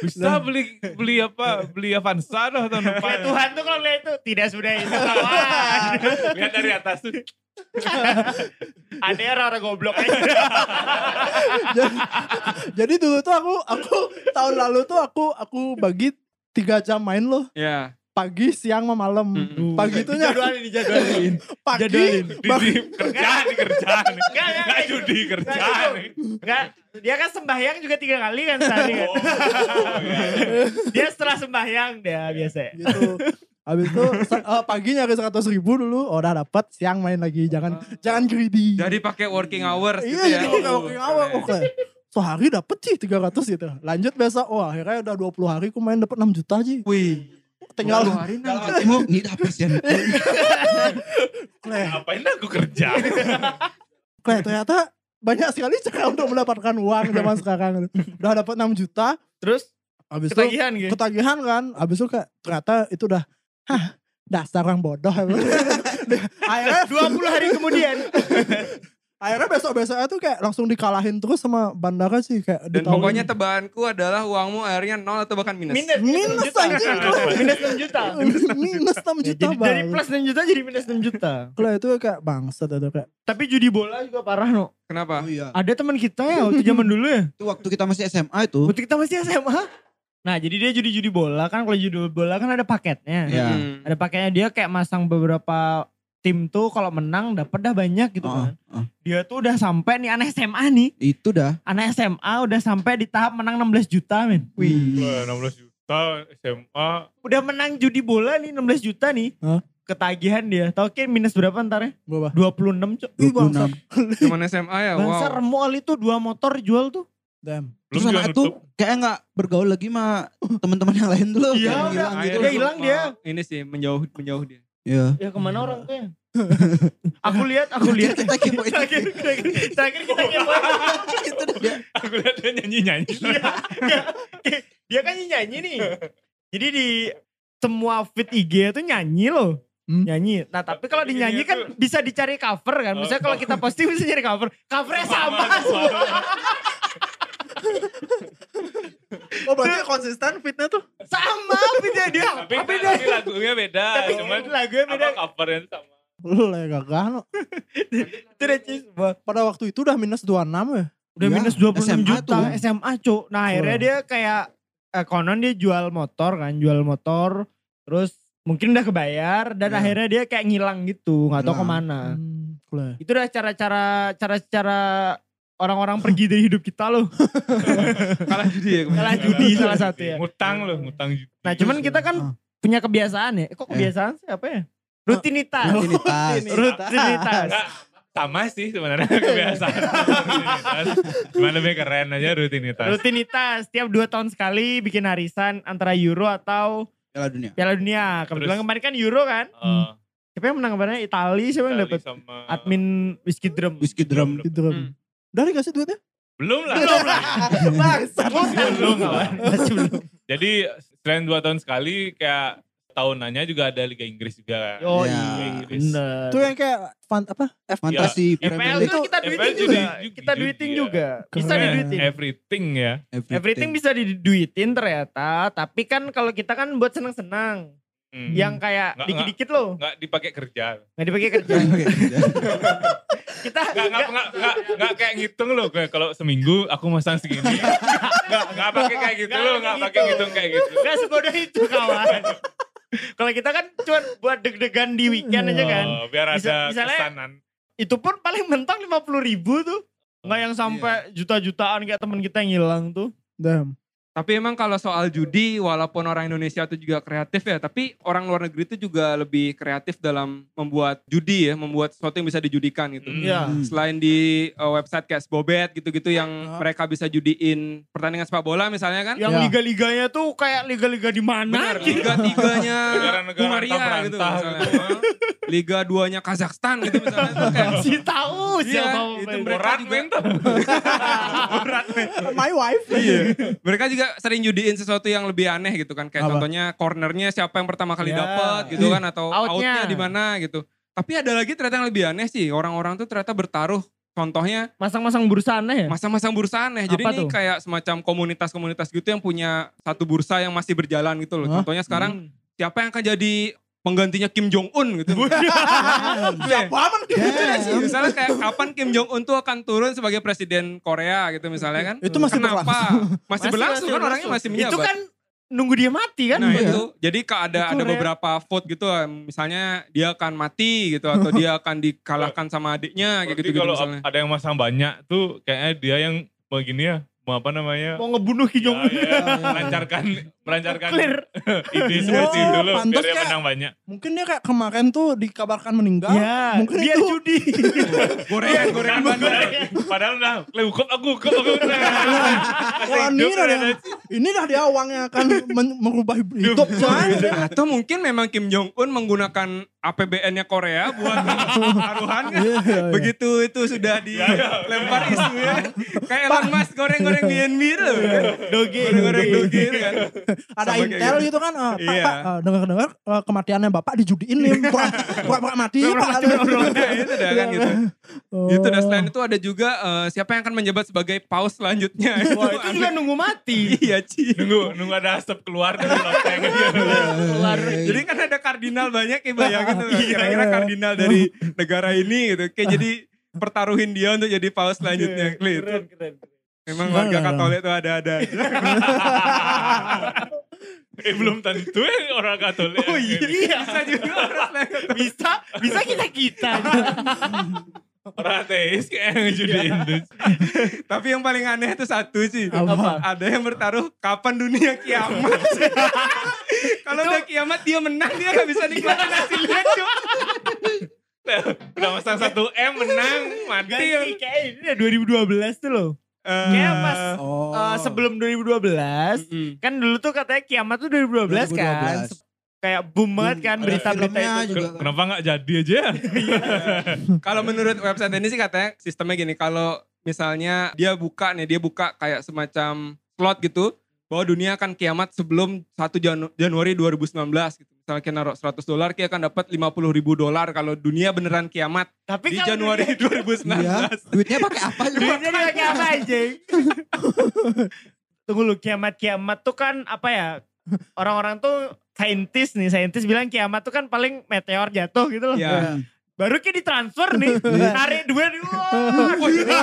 Speaker 4: Bisa beli beli apa? Beli Avanza dah tahun
Speaker 3: Ya
Speaker 4: depan.
Speaker 3: Tuhan tuh kalau lihat itu tidak sudah itu
Speaker 4: Lihat dari atas tuh.
Speaker 3: Ada orang-orang goblok
Speaker 4: Iya.
Speaker 3: aja.
Speaker 1: jadi, jadi dulu tuh aku, aku tahun lalu tuh aku aku bagi 3 jam main loh.
Speaker 9: Ya.
Speaker 1: Pagi, siang, sama malam.
Speaker 9: Mm-mm.
Speaker 1: Pagi tuh nya-
Speaker 3: ini jadwalin.
Speaker 1: pagi,
Speaker 3: jadwalin.
Speaker 4: Di,
Speaker 1: bang-
Speaker 4: di kerjaan, di kerjaan.
Speaker 3: Enggak, enggak,
Speaker 4: Enggak
Speaker 3: enggak.
Speaker 4: judi kerjaan.
Speaker 3: Enggak, dia kan sembahyang juga tiga kali kan
Speaker 4: Oh.
Speaker 3: sehari kan. dia setelah sembahyang dia biasa.
Speaker 4: Eh.
Speaker 1: gitu. Habis itu se- eh, pagi nyari 100 ribu dulu, oh, udah dapat, siang main lagi. Jangan jangan greedy.
Speaker 9: Ah. Jadi pakai working hours gitu ya.
Speaker 1: Iya jadi kayak working hour
Speaker 9: keren.
Speaker 1: oke. Sehari dapet sih 300 gitu. Lanjut besok, oh akhirnya udah 20 hari aku main dapet 6 juta sih.
Speaker 9: Wih.
Speaker 1: Tinggal
Speaker 9: Waduh, hari
Speaker 2: Dalam
Speaker 9: enam.
Speaker 2: hatimu, ini apa sih?
Speaker 1: kleh,
Speaker 4: Ngapain aku kerja?
Speaker 1: kleh ternyata banyak sekali cara untuk mendapatkan uang zaman sekarang. gitu. Udah dapet 6 juta,
Speaker 3: Terus
Speaker 1: habis itu
Speaker 3: ketagihan gitu.
Speaker 1: ketagihan kan. Habis itu kayak ternyata itu udah, hah dasar orang bodoh. akhirnya
Speaker 3: 20 Eh, hari kemudian
Speaker 1: akhirnya besok-besoknya tuh kayak langsung dikalahin terus sama bandara sih kayak
Speaker 9: Dan
Speaker 1: di tahun-
Speaker 9: pokoknya tebaanku adalah uangmu akhirnya nol atau bahkan minus.
Speaker 3: minus
Speaker 1: minus anjing kleh.
Speaker 3: minus 6 juta.
Speaker 1: minus 6
Speaker 3: Ya,
Speaker 1: juta
Speaker 3: jadi dari
Speaker 1: bang.
Speaker 3: plus 6 juta jadi minus 6 juta.
Speaker 1: Kalau itu kayak bangsat atau kayak
Speaker 3: Tapi judi bola juga parah no.
Speaker 9: Kenapa?
Speaker 2: Oh iya.
Speaker 3: Ada teman kita ya waktu zaman dulu ya.
Speaker 2: Itu waktu kita masih SMA itu.
Speaker 3: Waktu kita masih SMA. Nah jadi dia judi-judi bola kan. Kalau judi bola kan ada paketnya.
Speaker 2: Iya.
Speaker 9: Hmm.
Speaker 3: Ada paketnya dia kayak masang beberapa tim tuh kalau menang dapat dah banyak gitu
Speaker 2: Oh,
Speaker 3: kan.
Speaker 2: oh.
Speaker 3: Dia tuh udah sampai nih anak SMA nih.
Speaker 2: Itu dah.
Speaker 3: Anak SMA udah sampai di tahap menang 16 juta men.
Speaker 4: Wah, 16 juta SMA.
Speaker 3: Udah menang judi bola nih 16 juta nih.
Speaker 1: Hah?
Speaker 3: Ketagihan dia. Tau kayak minus berapa ntar ya?
Speaker 1: berapa?
Speaker 3: 26 cok.
Speaker 2: 26.
Speaker 9: Cuman SMA ya,
Speaker 3: Bangsa
Speaker 9: wow.
Speaker 3: remol itu dua motor jual tuh.
Speaker 1: Damn.
Speaker 4: Belum
Speaker 2: Terus
Speaker 4: juga
Speaker 2: anak itu
Speaker 4: nutup.
Speaker 2: kayak nggak bergaul lagi sama teman-teman yang lain dulu. Kayak
Speaker 3: Iya, udah,
Speaker 2: menghilang
Speaker 5: Akhirnya
Speaker 2: gitu.
Speaker 3: Dia hilang dia.
Speaker 5: Oh, Ini sih menjauh menjauh dia.
Speaker 2: Iya.
Speaker 3: Ya kemana orang tuh ya? aku lihat, aku lihat.
Speaker 2: Kita kepoin.
Speaker 3: Terakhir, terakhir, terakhir kita kepoin.
Speaker 2: Itu dia.
Speaker 4: Aku lihat dia nyanyi-nyanyi.
Speaker 3: Iya. Dia kan nyanyi nih. Jadi di semua feed IG tuh nyanyi loh.
Speaker 1: Hmm.
Speaker 3: Nyanyi. Nah tapi kalau
Speaker 4: Tapi
Speaker 3: dinyanyi
Speaker 4: ini
Speaker 3: kan bisa dicari cover kan. Misalnya kalau
Speaker 4: Oh.
Speaker 3: kita posting bisa cari cover. Covernya sama semua.
Speaker 1: Oh berarti konsisten fitnya tuh.
Speaker 3: Sama fitnya dia.
Speaker 4: Tapi, kan
Speaker 3: Tapi dia.
Speaker 4: tapi lagunya beda.
Speaker 3: Tapi
Speaker 4: Cuman
Speaker 3: lagunya
Speaker 4: kan apa
Speaker 3: beda.
Speaker 4: covernya itu sama.
Speaker 1: Lu lah gagah lo.
Speaker 3: Itu dia, Cis. Wah,
Speaker 1: Pada waktu itu udah minus 26 ya.
Speaker 3: Udah
Speaker 2: Iya,
Speaker 3: minus 26
Speaker 2: SMA
Speaker 3: juta
Speaker 2: tuh.
Speaker 3: SMA cuk. Nah akhirnya
Speaker 1: Oh.
Speaker 3: dia kayak eh, konon dia jual motor kan, jual motor. Terus mungkin udah kebayar dan
Speaker 2: Iya. Nah.
Speaker 3: akhirnya dia kayak ngilang gitu, nggak tahu
Speaker 2: Hilang.
Speaker 3: kemana.
Speaker 1: Hmm, lah.
Speaker 3: Itu udah cara-cara cara-cara orang-orang pergi dari hidup kita loh.
Speaker 5: Kalah judi ya. kemarin.
Speaker 3: Salah judi
Speaker 4: Iya.
Speaker 3: salah satu ya.
Speaker 4: Ngutang loh, ngutang judi.
Speaker 3: Nah cuman kita
Speaker 4: Ah.
Speaker 3: kan punya kebiasaan ya. Eh,
Speaker 4: Iya.
Speaker 3: kok kebiasaan sih apa ya? Rutinitas. Ah,
Speaker 2: Rutinitas.
Speaker 3: Rutinitas.
Speaker 4: Nah, sama sih sebenarnya kebiasaan. rutinitas. Cuman lebih keren aja rutinitas.
Speaker 3: Rutinitas. Tiap dua tahun sekali bikin harisan antara Euro atau
Speaker 2: Piala dunia.
Speaker 3: Piala Dunia. Kebetulan
Speaker 4: Terus-
Speaker 3: kemarin kan Euro kan.
Speaker 4: Eh,
Speaker 3: Siapa yang menang kemarin? Itali siapa yang
Speaker 4: Itali
Speaker 3: dapat?
Speaker 4: sama
Speaker 3: Admin Whiskey Drum.
Speaker 2: Whiskey drum.
Speaker 1: Gitu kan.
Speaker 5: Hmm.
Speaker 1: Dari kasih duitnya.
Speaker 4: belum lah. Belum lah.
Speaker 3: Bangsat.
Speaker 4: Belum lah.
Speaker 3: Masih belum.
Speaker 4: Jadi selain dua tahun sekali kayak tahunannya juga ada Liga Inggris juga. kan?
Speaker 3: Oh
Speaker 2: Ya,
Speaker 3: iya.
Speaker 4: Inggris.
Speaker 3: Bener.
Speaker 1: Itu yang kayak fan, apa?
Speaker 2: Fantasi
Speaker 3: FPL
Speaker 2: Premier League.
Speaker 3: itu kita
Speaker 4: FPL
Speaker 3: duitin
Speaker 4: juga.
Speaker 3: juga. Kita
Speaker 4: Judi
Speaker 3: duitin
Speaker 4: ya.
Speaker 3: juga. Bisa
Speaker 1: Keren.
Speaker 3: diduitin.
Speaker 4: Everything ya.
Speaker 3: Everything bisa diduitin ternyata. Tapi kan kalau kita kan buat senang-senang.
Speaker 4: Hmm.
Speaker 3: Yang kayak
Speaker 4: Nggak,
Speaker 3: dikit-dikit loh.
Speaker 4: nggak dipakai kerja.
Speaker 3: Nggak dipakai kerja.
Speaker 2: Oke, udah.
Speaker 3: kita
Speaker 4: Nggak nggak nggak nggak nggak kayak ngitung loh kayak kalau seminggu aku masang segini. nggak nggak pakai kayak gitu
Speaker 3: Nggak
Speaker 4: loh, nggak
Speaker 3: gitu.
Speaker 4: pakai ngitung kayak gitu.
Speaker 3: nggak sebodoh itu kawan. kalau kita kan cuma buat deg-degan di weekend aja kan.
Speaker 4: Oh, biar
Speaker 3: Bisa-
Speaker 4: ada
Speaker 3: misalnya-
Speaker 4: kesanan.
Speaker 3: itu pun paling mentang 50 ribu tuh. Nggak yang sampai juta-jutaan kayak temen kita yang hilang tuh.
Speaker 1: Damn.
Speaker 5: Tapi emang kalau soal judi, walaupun orang Indonesia itu juga kreatif ya, tapi orang luar negeri itu juga lebih kreatif dalam membuat judi ya, membuat sesuatu yang bisa dijudikan gitu.
Speaker 4: Hmm.
Speaker 3: Iya.
Speaker 2: Hmm.
Speaker 5: Selain di uh, website kayak Bobet gitu-gitu yang
Speaker 1: Ah.
Speaker 5: mereka bisa judiin pertandingan sepak bola misalnya kan.
Speaker 3: Yang
Speaker 1: Ya.
Speaker 3: liga-liganya tuh kayak liga-liga di mana
Speaker 5: Benar,
Speaker 3: gitu.
Speaker 5: liga-tiganya
Speaker 4: Negara-negara
Speaker 5: Hungaria gitu
Speaker 4: rantah-rantah
Speaker 5: misalnya. Liga duanya Kazakhstan gitu misalnya. Itu kayak,
Speaker 3: Si tahu
Speaker 5: Iya,
Speaker 3: siapa
Speaker 5: itu
Speaker 3: pemain.
Speaker 5: mereka juga,
Speaker 1: My wife.
Speaker 5: mereka juga sering judiin sesuatu yang lebih aneh gitu kan. Kayak
Speaker 1: Apa?
Speaker 5: contohnya cornernya siapa yang pertama kali
Speaker 3: Ya.
Speaker 5: dapat gitu kan. Atau
Speaker 3: Outnya.
Speaker 5: outnya di mana gitu. Tapi ada lagi ternyata yang lebih aneh sih. Orang-orang tuh ternyata bertaruh. Contohnya
Speaker 3: Masang-masang bursa aneh ya?
Speaker 5: masa-masa bursa aneh. Jadi
Speaker 3: Apa
Speaker 5: ini
Speaker 3: tuh?
Speaker 5: kayak semacam komunitas-komunitas gitu yang punya satu bursa yang masih berjalan gitu loh.
Speaker 1: Hah?
Speaker 5: Contohnya sekarang siapa yang akan jadi penggantinya Kim Jong Un gitu. siapa
Speaker 2: Damn.
Speaker 5: Misalnya kayak kapan Kim Jong Un tuh akan turun sebagai presiden Korea gitu misalnya kan.
Speaker 1: Itu masih
Speaker 5: Kenapa?
Speaker 1: berlangsung.
Speaker 5: Masih berlangsung kan orangnya masih menjabat.
Speaker 3: Itu kan nunggu dia mati kan?
Speaker 5: Nah
Speaker 3: Iya.
Speaker 5: itu, jadi ka- ada
Speaker 3: Itu
Speaker 5: ada
Speaker 3: rare.
Speaker 5: beberapa vote gitu, misalnya dia akan mati gitu atau dia akan dikalahkan sama adiknya kayak
Speaker 4: Berarti
Speaker 5: Nah, gitu-gitu
Speaker 4: kalau
Speaker 5: misalnya.
Speaker 4: ada yang masang banyak tuh kayaknya dia yang begini ya, mau apa namanya?
Speaker 3: Mau ngebunuh Ki Jong Un.
Speaker 4: Ya, ya, melancarkan melancarkan
Speaker 3: Clear.
Speaker 4: ide seperti
Speaker 1: Wah,
Speaker 4: itu loh biar
Speaker 1: pantes
Speaker 4: dia
Speaker 1: ya.
Speaker 4: menang banyak.
Speaker 1: Mungkin dia kayak kemarin tuh dikabarkan meninggal.
Speaker 3: Ya,
Speaker 1: Mungkin
Speaker 3: dia
Speaker 1: itu.
Speaker 3: judi.
Speaker 5: Gorengan, gorengan
Speaker 4: Padahal- Nah, Padahal udah, "Le, hukum aku, hukum aku.
Speaker 1: Wah, ini dah dia, ini dah dia uangnya akan men- merubah hidup. Cuman dia-
Speaker 5: Atau mungkin memang Kim Jong Un menggunakan APBN-nya Korea buat taruhan kan.
Speaker 1: Iya, iya, iya.
Speaker 5: Begitu itu sudah
Speaker 4: Iya,
Speaker 5: dilempar isu ya. Kayak Elon Musk goreng-goreng BNB itu.
Speaker 3: Doge.
Speaker 5: kan? Goreng-goreng doge itu kan.
Speaker 1: ada
Speaker 5: Sama kayak
Speaker 1: intel
Speaker 5: gitu.
Speaker 1: gitu kan ah, pak
Speaker 5: Iya.
Speaker 1: pak ah, dengar-dengar ah, kematiannya bapak dijudiin nih pura-pura mati pak
Speaker 5: Nah, itu dah kan gitu.
Speaker 3: Iya.
Speaker 1: Oh.
Speaker 5: Itu dan selain itu ada juga eh, siapa yang akan menjabat sebagai paus selanjutnya.
Speaker 3: Wah, itu juga nunggu mati.
Speaker 5: Iya, Ci.
Speaker 4: Nunggu, nunggu ada asap keluar dari loteng.
Speaker 3: Kelar.
Speaker 5: Jadi kan ada kardinal banyak ya bayangin tuh. Kira-kira kardinal dari negara ini gitu. Kayak jadi pertaruhin dia untuk jadi paus selanjutnya. Kli, itu
Speaker 3: Keren, keren.
Speaker 5: memang
Speaker 1: Enggak,
Speaker 5: warga
Speaker 1: enggak,
Speaker 5: Katolik tuh ada-ada.
Speaker 4: eh belum tentu ya orang Katolik. gitu.
Speaker 3: Oh iya.
Speaker 5: Gitu. Bisa juga orang Katolik.
Speaker 3: Bisa, bisa kita-kita.
Speaker 4: Orang ateis kayak "Eh, yang judi itu.
Speaker 5: Iya. Tapi yang paling aneh itu satu sih.
Speaker 1: Apa?
Speaker 5: Ada yang bertaruh kapan dunia kiamat. Kalau udah kiamat dia menang dia gak bisa dikeluarin hasilnya cuy.
Speaker 4: Udah masang 1M menang, mati.
Speaker 5: kan?
Speaker 3: Ganti kayak ini ya 2012 tuh loh.
Speaker 10: Eh,
Speaker 3: Kayak pas
Speaker 2: Oh.
Speaker 3: eh, sebelum 2012, kan dulu tuh katanya kiamat tuh 2012, kan.
Speaker 2: 2012.
Speaker 3: Kayak boom banget kan
Speaker 2: Ada
Speaker 3: berita-berita
Speaker 2: filmnya
Speaker 3: itu.
Speaker 2: juga.
Speaker 4: Kenapa nggak jadi aja?
Speaker 5: Kalau menurut website ini sih katanya sistemnya gini, kalau misalnya dia buka nih, dia buka kayak semacam slot gitu, bahwa dunia akan kiamat sebelum 1 Janu- Januari 2019 gitu. Misalnya kita naruh 100 dolar, kita akan dapat 50 ribu dolar kalau dunia beneran kiamat
Speaker 3: Tapi
Speaker 5: di
Speaker 3: kalau
Speaker 5: Januari
Speaker 2: Iya.
Speaker 5: 2019.
Speaker 2: Duitnya pakai apa juga?
Speaker 3: Duitnya dipakai apa anjing? Tunggu lu kiamat-kiamat tuh kan apa ya? Orang-orang tuh saintis nih, saintis bilang kiamat tuh kan paling meteor jatuh gitu loh.
Speaker 5: Iya.
Speaker 3: Baru kayak ditransfer nih, tarik duit. Wow.
Speaker 5: Oh, jadi,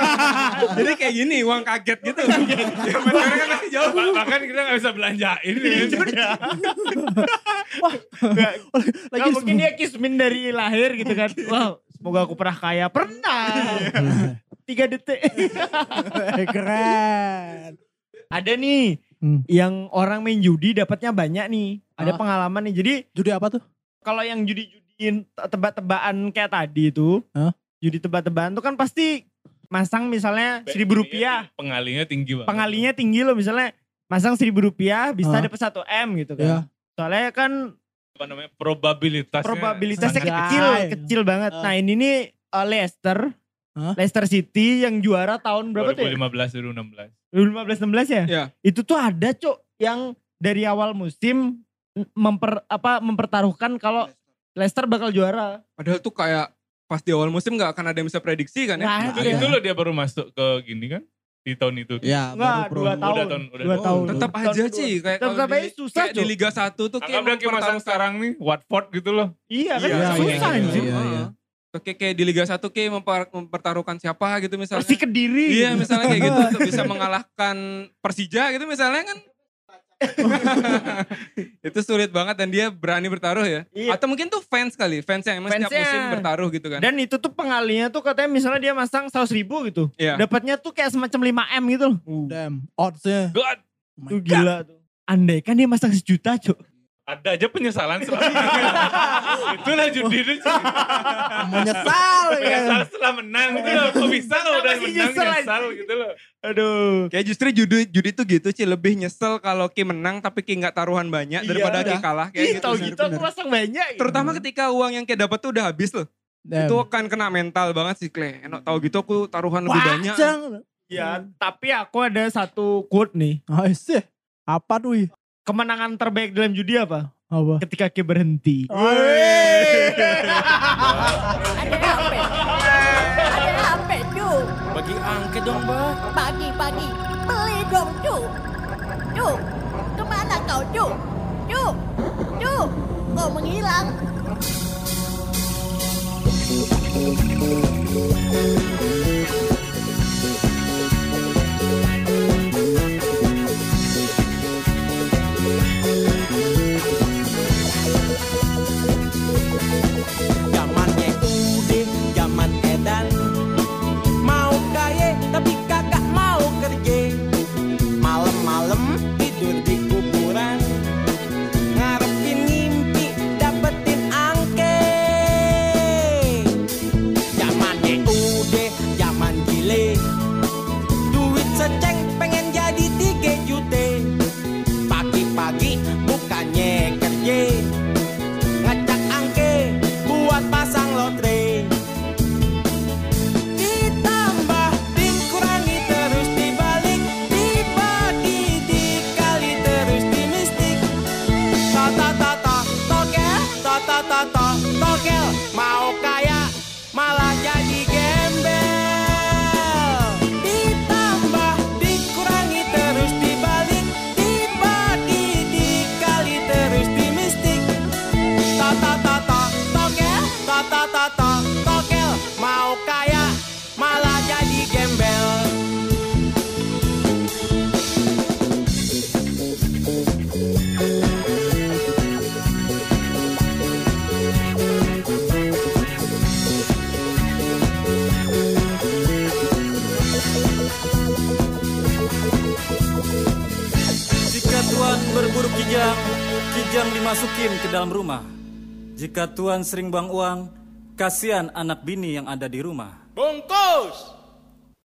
Speaker 5: jadi kayak gini, uang kaget gitu.
Speaker 4: Iya.
Speaker 5: ya, meteor kan masih jauh.
Speaker 4: Bah- Bahkan kita nggak bisa belanjain.
Speaker 3: gitu. Nah, mungkin dia kismin dari lahir gitu kan. Wow, semoga aku pernah kaya. Pernah. Tiga detik.
Speaker 1: Eh, Keren.
Speaker 3: Ada nih,
Speaker 1: Hmm.
Speaker 3: yang orang main judi dapatnya banyak nih.
Speaker 1: Ah.
Speaker 3: Ada pengalaman nih. Jadi
Speaker 1: Judi apa tuh?
Speaker 3: kalau yang judi-judiin te- tebak-tebakan kayak tadi itu,
Speaker 1: Hah?
Speaker 3: judi tebak-tebakan tuh kan pasti masang misalnya seribu rupiah,
Speaker 4: Pengalinya tinggi banget.
Speaker 3: pengalinya tinggi loh misalnya masang seribu rupiah
Speaker 1: Hah?
Speaker 3: bisa dapat satu m gitu
Speaker 1: Iya.
Speaker 3: kan. Soalnya kan
Speaker 4: Apa namanya? Probabilitasnya.
Speaker 3: probabilitasnya
Speaker 4: sangat
Speaker 3: kecil,
Speaker 1: kecil.
Speaker 3: kecil banget.
Speaker 1: Hah.
Speaker 3: Nah ini nih uh, Leicester,
Speaker 1: Hah?
Speaker 3: Leicester City yang juara tahun berapa tuh? ya?
Speaker 4: 2015 2016.
Speaker 3: 2015 ya?
Speaker 5: Iya.
Speaker 3: Itu tuh ada cok yang dari awal musim memper apa mempertaruhkan kalau Leicester bakal juara.
Speaker 5: Padahal tuh kayak pas di awal musim nggak akan ada yang bisa prediksi kan ya.
Speaker 3: Nah,
Speaker 4: Itu,
Speaker 2: Iya.
Speaker 4: itu loh dia baru masuk ke gini kan? Di tahun itu.
Speaker 1: Nah,
Speaker 2: Iya,
Speaker 3: Enggak,
Speaker 2: baru pro.
Speaker 3: dua tahun.
Speaker 4: Udah tahun, udah
Speaker 3: dua
Speaker 4: tahun.
Speaker 3: tahun.
Speaker 5: Tetap
Speaker 3: Tahun
Speaker 5: aja
Speaker 3: dua.
Speaker 5: sih kayak
Speaker 3: Tetap
Speaker 5: kalau
Speaker 3: aja
Speaker 5: di-
Speaker 3: susah,
Speaker 5: kayak di
Speaker 3: Cuk.
Speaker 5: Liga 1 tuh kayak
Speaker 4: Anggap dia kayak masang
Speaker 5: mempertaruhkan-
Speaker 4: sekarang nih, Watford gitu loh.
Speaker 3: Iya kan
Speaker 5: Iya,
Speaker 3: susah
Speaker 2: iya,
Speaker 3: anjir.
Speaker 2: iya, iya.
Speaker 5: Oke, kayak di Liga 1 kayak memper- mempertaruhkan siapa gitu misalnya.
Speaker 3: Persi Kediri.
Speaker 5: Iya, misalnya kayak gitu untuk bisa mengalahkan Persija gitu misalnya kan. itu sulit banget dan dia berani bertaruh ya.
Speaker 3: Iya.
Speaker 5: Atau mungkin tuh fans kali, fans yang emang setiap
Speaker 3: Fansnya.
Speaker 5: musim bertaruh gitu kan.
Speaker 3: Dan itu tuh pengalinya tuh katanya misalnya dia masang 100 ribu gitu.
Speaker 5: Iya.
Speaker 3: Dapatnya tuh kayak semacam 5M gitu loh.
Speaker 1: Damn, oddsnya.
Speaker 4: God,
Speaker 3: Tuh gila tuh. Andai kan dia masang sejuta cok.
Speaker 4: ada aja penyesalan setelah menang. Itulah judi itu.
Speaker 5: Ah.
Speaker 1: Menyesal ya kan?
Speaker 4: Menyesal setelah menang gitu loh. Kok bisa kalau udah
Speaker 3: Masih
Speaker 4: menang
Speaker 3: nyesel aja.
Speaker 4: nyesal gitu loh.
Speaker 3: Aduh.
Speaker 5: Kayak justru judi judi tuh gitu sih lebih nyesel kalau Ki menang tapi Ki nggak taruhan banyak
Speaker 3: Iya,
Speaker 5: daripada Ki
Speaker 3: udah.
Speaker 5: kalah
Speaker 3: Ih
Speaker 5: kayak gitu.
Speaker 3: tau gitu aku masang banyak. gitu.
Speaker 5: Terutama ketika uang yang Ki dapat tuh udah habis loh.
Speaker 1: Damn.
Speaker 5: Itu akan kena mental banget sih Kle. Enak tahu gitu aku taruhan lebih banyak.
Speaker 1: Panjang.
Speaker 3: Ya tapi aku ada satu quote nih.
Speaker 1: Ah, sih. Apa tuh? Wi?
Speaker 3: Kemenangan terbaik dalam judi apa?
Speaker 1: Apa?
Speaker 3: Ketika Ki berhenti.
Speaker 11: Ada apa? Ada apa, Cuk?
Speaker 12: Bagi angket dong, Bang.
Speaker 11: Pagi-pagi beli dong, Cuk. Cuk, kemana kau, Cuk? Cuk, Cuk, kau menghilang.
Speaker 13: zamannya udah zaman edan mau kaya tapi kagak mau kerja malam-malam tidur di kuburan ngarepin mimpi dapetin angke zamannya udah zaman gile duit seceng pengen jadi tiga juta pagi-pagi bukannya kerja ngacak angke buat pasang lotre ditambah dikurangi terus dibalik dibagi dikali terus dimistik tata tata tokel tata tata tokel mau kaya malah jadi gembel ditambah dikurangi terus dibalik dibagi dikali terus dimistik Tata tata tokel, tata tata tokel, mau kaya malah jadi gembel.
Speaker 14: Jika Tuhan berburu kijang, kijang dimasukin ke dalam rumah. Jika Tuhan sering buang uang, kasihan anak bini yang ada di rumah.
Speaker 13: Bungkus.